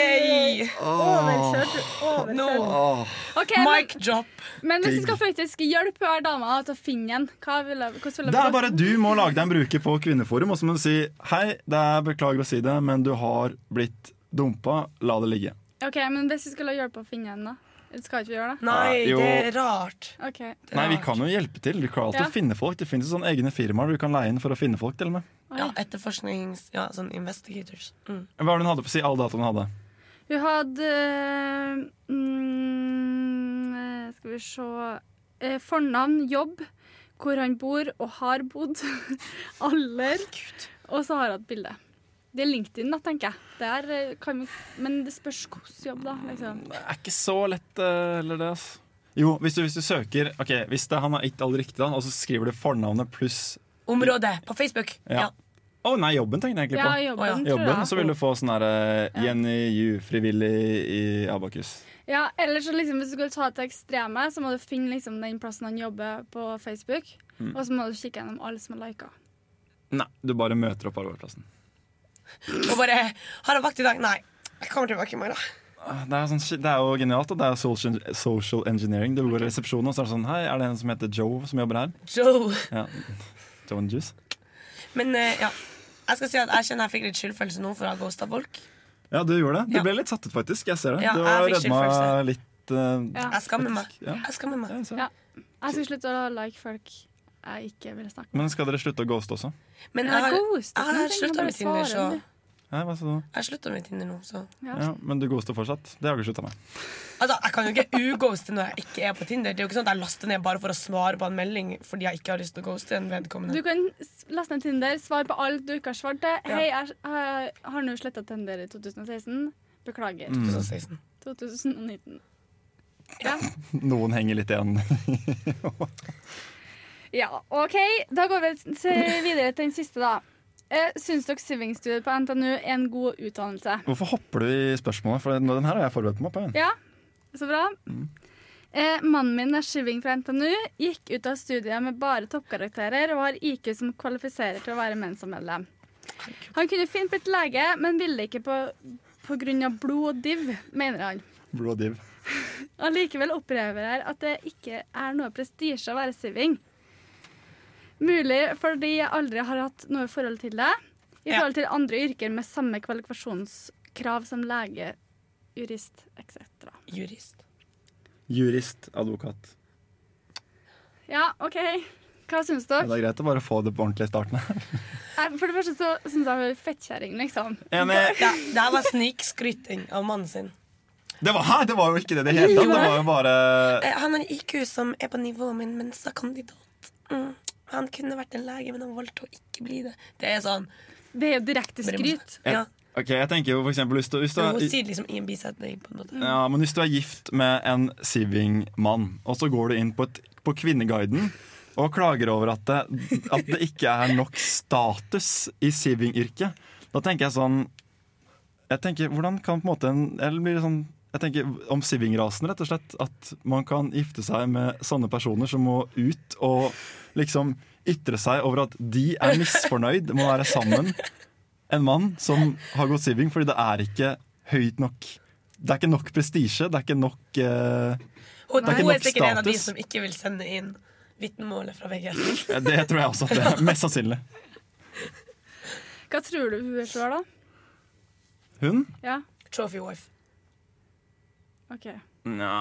S1: Overkjørt.
S2: Nå
S3: Åh,
S1: OK,
S2: Mic drop.
S1: men, men hvis
S3: digg.
S1: du skal faktisk hjelpe hver dame til å finne en, hva ville hvordan ville
S3: Det er bare du må lage deg en bruker på Kvinneforum, og så må du si Hei, det er beklager å si det, men du har blitt dumpa. La det ligge.
S1: OK, men hvis vi skulle hjelpe å finne en, da? Skal ikke vi gjøre det?
S2: Nei,
S3: Ja, Ah, jo.
S2: det er rart.
S1: OK.
S3: Nei, vi kan jo hjelpe til. Vi klarer alltid
S1: Ja.
S3: å finne folk. Det finnes jo sånne egne firmaer du kan leie inn for å finne folk. til og med.
S2: Ja, etterforsknings... Ja, sånn investigators. Mm.
S3: Hva var det hun hadde på å si? Alle dataene hun hadde.
S1: Hun hadde eh, mm, skal vi se eh, Fornavn, jobb, hvor han bor og har bodd, alder, og så har han et bilde. Det er LinkedIn, da, tenker jeg. Det er, eh, kan vi, men det spørs hvilken jobb, da. Liksom.
S3: Det er ikke så lett eh, heller, det. ass. Jo, hvis du, hvis du søker Ok, hvis det, han har ikke alle riktige, da, og så skriver du fornavnet pluss
S2: Område på Facebook.
S3: Ja.
S2: Ja.
S3: Å nei, jobben tenkte jeg egentlig
S1: Ja,
S3: på.
S1: jobben,
S2: Å,
S1: tror
S3: Jobben,
S1: jeg.
S3: så vil du få sånn her eh, Jenny Ju, frivillig i Abakus.
S1: Ja, eller så liksom, hvis du skal ta det til ekstreme, så må du finne liksom, den plassen han jobber på Facebook,
S3: Mm.
S1: og så må du kikke gjennom alle som har lika.
S3: Nei, du bare møter opp på arbeidsplassen.
S2: Og bare Har jeg vakt i dag? Nei. Jeg kommer tilbake i morgen.
S3: Ah, Det er, sånn, shit- det er jo genialt. da. Det er social, social engineering. Du går i resepsjonen, og så er det sånn Hei, er det en som heter Joe som jobber her?
S2: Joe.
S3: Ja. Joe and Juice.
S2: Men eh, ja. Jeg skal si at jeg kjenner jeg fikk litt skyldfølelse nå for å ha ghosta folk.
S3: Ja, du gjorde det. Du
S2: Ja.
S3: ble litt satt ut, faktisk. Jeg ser det.
S2: Ja,
S3: du
S2: jeg
S3: har
S2: fikk
S3: redda
S2: skyldfølelse.
S3: meg litt. eh,
S1: Ja.
S2: Jeg skammer meg.
S3: Ja.
S2: Jeg skammer meg.
S3: jeg ser det.
S1: Ja. Jeg skal slutte å like folk jeg ikke ville snakke med.
S3: Men skal dere slutte å ghoste også?
S2: Men
S1: Jeg
S2: jeg har,
S1: ghoster
S2: jeg
S1: ikke,
S2: har
S1: jeg
S2: slutta
S1: bare
S2: med Tinder, så
S1: svarer,
S3: Nei, hva sa du?
S2: Jeg slutta med Tinder nå, så
S3: Ja, men du ghoster fortsatt? Det har du slutta med.
S2: Altså, Jeg kan jo ikke ughoste når jeg ikke er på Tinder. Det er jo ikke sånn at jeg laster ned bare for å svare på en melding fordi jeg ikke har lyst til å ghoste en
S1: Du
S2: vedkommende.
S1: kan s- laste ned Tinder, svare på alt du ikke har svart til. Hei, jeg eh, har nå sletta Tinder i 2016. Beklager.
S2: Mm.
S3: Mm.
S2: 2016.
S1: 2019. Ja.
S3: Noen henger litt igjen.
S1: ja, OK. Da går vi til- videre til den siste, da. Eh, Syns dere sivingstudiet på NTNU er en god utdannelse?
S3: Hvorfor hopper du i spørsmålet? For den den her har jeg forberedt meg på. igjen.
S1: Ja, så bra. Eh, mannen min er skiving fra NTNU, gikk ut av studiet med bare toppkarakterer og har IQ som kvalifiserer til å være Mensa-medlem. Han kunne fint blitt lege, men ville ikke på, på grunn av blod og div, mener han.
S3: Blå div.
S1: Allikevel opplever jeg at det ikke er noe prestisje å være siving. Mulig fordi jeg aldri har hatt noe forhold til det, i
S2: Ja.
S1: forhold til andre yrker med samme kvalifikasjonskrav som lege, jurist etc.
S2: Jurist.
S3: Jurist, advokat.
S1: Ja, OK. Hva syns
S3: Ja,
S1: dere?
S3: det er greit å bare få det på ordentlig i starten.
S1: Jeg- For det første så syns jeg hun er fettkjerring, liksom.
S3: Enig.
S2: Ja, det her var snikskryting av mannen sin.
S3: Det var, hæ, det var jo ikke det i det hele tatt. Det var jo bare
S2: Eh, Han har en IQ som er på nivået min, men så kandidat. Mm. Han kunne vært en lege, men han valgte å ikke bli det. Det er sånn.
S1: Det er jo direkte skryt.
S2: Ja.
S3: Ok, jeg tenker jo for eksempel hvis du, hvis du,
S2: Men Hun
S3: er,
S2: sier liksom i en bisetning på en måte.
S3: ja, men hvis du er gift med en siving-mann, og så går du inn på, et, på Kvinneguiden og klager over at det, at det ikke er nok status i siving-yrket, da tenker jeg sånn Jeg tenker, hvordan kan på en måte en Eller blir det sånn jeg tenker Om sivingrasen, rett og slett. At man kan gifte seg med sånne personer som må ut og liksom ytre seg over at de er misfornøyd med å være sammen en mann som har gått siving, fordi det er ikke høyt nok. Det er ikke nok prestisje. Det er ikke nok eh, er ikke
S2: Hun, hun er
S3: nok
S2: sikkert en av de
S3: status.
S2: som ikke vil sende inn vitnemålet fra VG.
S3: Det tror jeg også at det er mest sannsynlig.
S1: Hva tror du hun er sjøl, da?
S3: Hun?
S1: Ja,
S2: Trophy wife.
S1: OK.
S3: Nja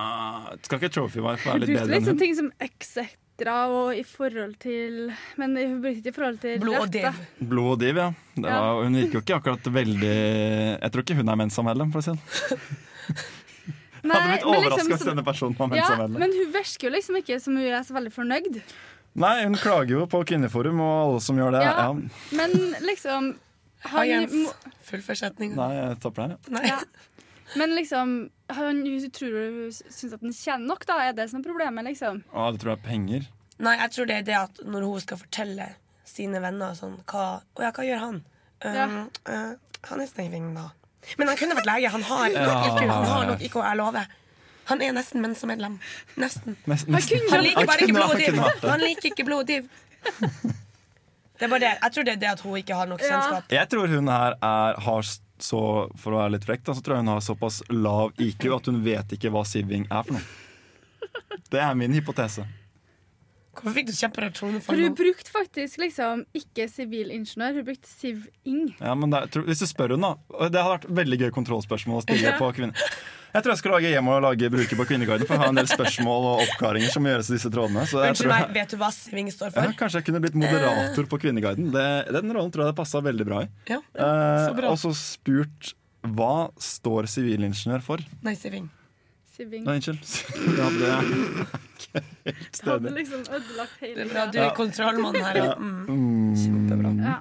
S3: Skal ikke trophy wife
S1: Hun
S3: være litt
S1: brukte
S3: bedre
S1: litt
S3: enn
S1: sånne
S3: hun?
S1: ting som etc. og i forhold til Men hun brukte ikke i forhold til
S2: Blod og
S1: rett, da.
S2: dev.
S3: Blod og div, ja. Det
S1: Ja.
S3: var, hun gikk jo ikke akkurat veldig Jeg tror ikke hun er Mensa-medlem, for å si det. Jeg Hadde blitt
S1: men
S3: overraska
S1: liksom
S3: hvis
S1: som-
S3: denne personen var
S1: ja,
S3: Mensa-medlem.
S1: men hun virker jo liksom ikke som hun er så veldig fornøyd.
S3: Nei, hun klager jo på Kvinneforum og alle som gjør det. Ja.
S1: Ja. Men liksom
S2: Hei,
S1: han,
S2: Jens.
S1: må-
S2: Fullfør setninga.
S3: Nei, jeg tapper den, ja.
S2: Nei.
S1: Ja. Men liksom han, Hun tror hun syns at han tjener nok, da. Er det som er problemet, liksom?
S3: Å, du tror det er penger?
S2: Nei, jeg tror det er det at når hun skal fortelle sine venner sånn hva, Å ja, hva gjør han? Um, eh, han er sneving, da. Men han kunne vært lege. Han har nok
S3: Ja.
S2: IQ. Han har nok IQ, jeg lover. Han er nesten Mensa-medlem. Nesten.
S3: Nest,
S1: Han
S3: nesten.
S1: kunne
S2: Han liker bare
S3: kunne-
S2: ikke blod og
S3: han kunne vært
S2: div.
S3: det.
S2: Han liker ikke blod og div. Det er bare det. Jeg tror det er det at hun ikke har nok
S1: Ja.
S2: kjennskap.
S3: Jeg tror hun her er, har s- så, for å være litt frekk, da, så tror jeg hun har såpass lav IQ at hun vet ikke hva siving er for noe. Det er min hypotese.
S2: Hvorfor fikk du kjempereaksjoner
S1: For
S2: for
S1: hun
S2: noe?
S1: brukte faktisk liksom ikke sivilingeniør, hun brukte siving.
S3: Ja, men det, er- tror, hvis du spør hun da og Det hadde vært veldig gøy kontrollspørsmål å stille
S1: Ja.
S3: på kvinner. Jeg tror jeg skal lage hjemme og lage bruker på Kvinneguiden, for jeg har en del spørsmål og oppklaringer som må gjøres i disse trådene. Så jeg
S2: Unnskyld
S3: tror
S2: meg,
S3: jeg,
S2: vet du hva sving står
S3: ja,
S2: for?
S3: kanskje jeg kunne blitt moderator på Kvinneguiden. Det, den rollen tror jeg det passa veldig bra i.
S2: Ja.
S3: Eh,
S2: Så bra.
S3: og så spurt hva står sivilingeniør for?
S2: Nei, sving.
S1: Sibbing.
S3: Nei, unnskyld. Ja, det er ikke helt
S1: Det hadde
S3: stødig.
S1: liksom ødelagt hele
S2: Det er bra du
S1: greia.
S2: er kontrollmann her. Ja. Mm. Kjempebra.
S1: Ja.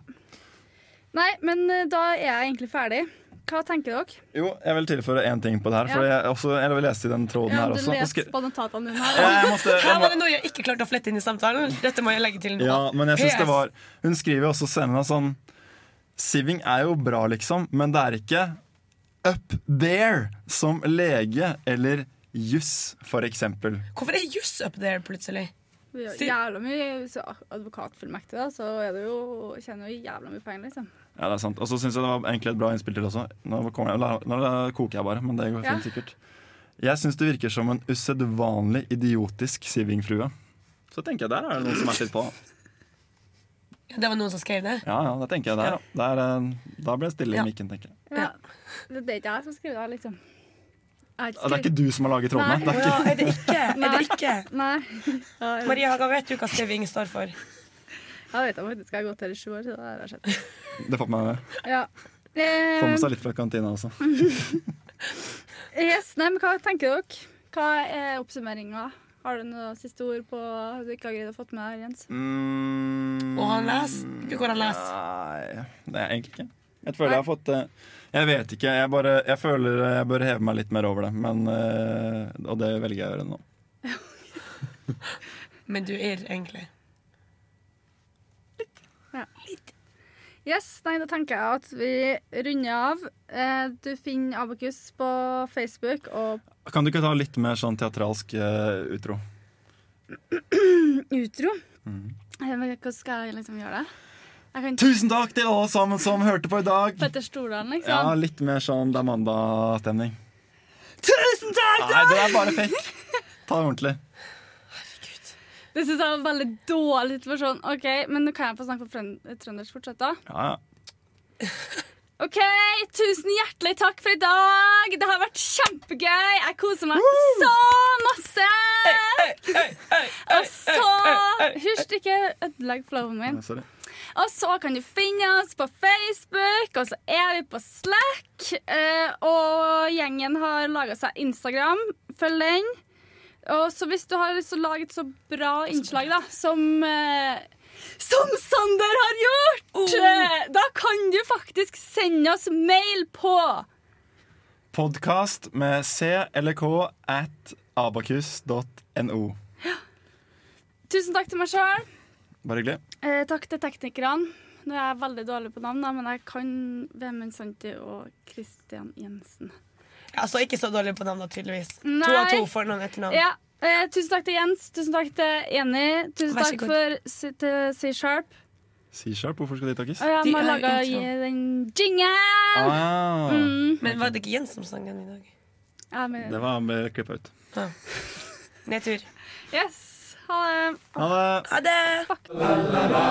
S1: Nei, men eh, da er jeg egentlig ferdig. Hva tenker dere?
S3: Jo, jeg vil tilføre én ting på det her. For jeg, også, jeg vil lese i den tråden
S1: Ja,
S3: her
S1: du
S3: også. Nå skal-
S1: leser på notatene dine her.
S3: Jeg måtte,
S2: Her
S3: jeg
S2: var
S3: må,
S2: det noe jeg ikke klarte å flette inn i samtalen. Dette må jeg legge til nå.
S3: ja, men jeg synes det
S2: PS.
S3: var Hun skriver jo også senere sånn Siving er jo bra, liksom, men det er ikke up there som lege eller juss, for eksempel.
S2: Hvorfor er juss up there plutselig?
S1: Vi gjør
S2: Si-
S1: jævla mye så advokatfullmektig, da, så er det jo, tjener jo jævla mye penger, liksom.
S3: Ja, det er sant. Og så syns jeg det var egentlig et bra innspill til også. Nå, kommer jeg, nå koker jeg bare, men det går fint,
S1: Ja.
S3: sikkert. Jeg syns det virker som en usedvanlig idiotisk sivingflue. Så tenker jeg der er det noen som er sitt på.
S2: Ja, det var noen som skrev det?
S3: Ja, ja, det tenker jeg der, ja. Der, eh, da ble det stille
S2: Ja.
S3: i mikken, tenker jeg.
S1: Ja. Det, det er ikke jeg som skriver det, her, liksom. Jeg har
S3: Ja, Det er ikke du som har laget trådene?
S1: Nei.
S3: Det er
S2: Ja,
S3: ikke...
S2: er det ikke? Er det
S1: Nei.
S2: ikke?
S1: Nei. Ja, jeg,
S2: Maria Haga, vet du hva Steving står for?
S1: jeg vet det faktisk. Jeg har gått her i sju år, så det her har skjedd.
S3: Det får man
S1: Ja.
S3: får
S1: Eh,
S3: med seg litt fra kantina også.
S1: yes, nei, men hva tenker dere? Hva er oppsummeringa? Har du noe siste ord på du ikke har greid å fått med her, Jens?
S3: Mm,
S2: Og han leser. Ikke hvor han leser.
S3: Nei, det er egentlig ikke. Jeg føler jeg har fått eh, Jeg vet ikke. Jeg, bare, jeg føler eh, jeg bør heve meg litt mer over det. Men, eh, og det velger jeg å gjøre nå.
S2: Men du er egentlig
S1: Yes, nei, da tenker jeg at vi runder av. Eh, du finner Abakus på Facebook og
S3: Kan du ikke ta litt mer sånn teatralsk eh, utro?
S1: Utro. Eh, men Hvordan skal jeg liksom gjøre det? Jeg kan
S3: Tusen takk til alle sammen som hørte på i dag!
S1: Petter Stordalen,
S3: Ja,
S1: liksom.
S3: litt mer sånn Det er mandag-stemning.
S2: Tusen takk!
S3: Nei, det er bare fake. Ta det ordentlig.
S1: Det syns jeg var veldig dårlig situasjon. OK, men nå kan jeg få snakke på frøn- trøndersk fortsatt, da.
S3: Ja, ja.
S1: OK, tusen hjertelig takk for i dag. Det har vært kjempegøy. Jeg koser meg så masse. Og så Hysj, ikke ødelegg flowen min.
S3: Nei, Sorry.
S1: Og så kan du finne oss på Facebook, og så er vi på Slack. Eh, og gjengen har laga seg Instagram. Følg den. Og så hvis du har lyst til å lage et så bra innslag da, som eh, som Sander har gjort! eh, Da kan du faktisk sende oss mail på
S3: Podkast med c eller k at abakus.no.
S1: Tusen takk til meg sjøl.
S3: Bare hyggelig.
S1: Eh, takk til teknikerne. Nå er jeg veldig dårlig på navn, da, men jeg kan Vemund Santi og Kristian Jensen.
S2: Altså, ikke så dårlig på navnet, tydeligvis.
S1: Nei.
S2: To av to får noen etternavn.
S1: Ja. Eh, tusen takk til Jens, tusen takk til Jenny, tusen
S2: Vær så
S1: takk
S2: god.
S1: for si- til C-Sharp.
S3: C-sharp, hvorfor skal de takkes?
S1: Og ja,
S2: De
S1: man
S2: er
S1: laga
S2: intro.
S1: den jingen!
S3: Ah,
S1: Mm.
S2: Men var det ikke Jens som sang den i dag?
S1: Ja, men-
S3: Det var med klippa ut.
S2: Ja. Nedtur.
S1: Yes. Ha det.
S3: Ha det.
S2: Ha det!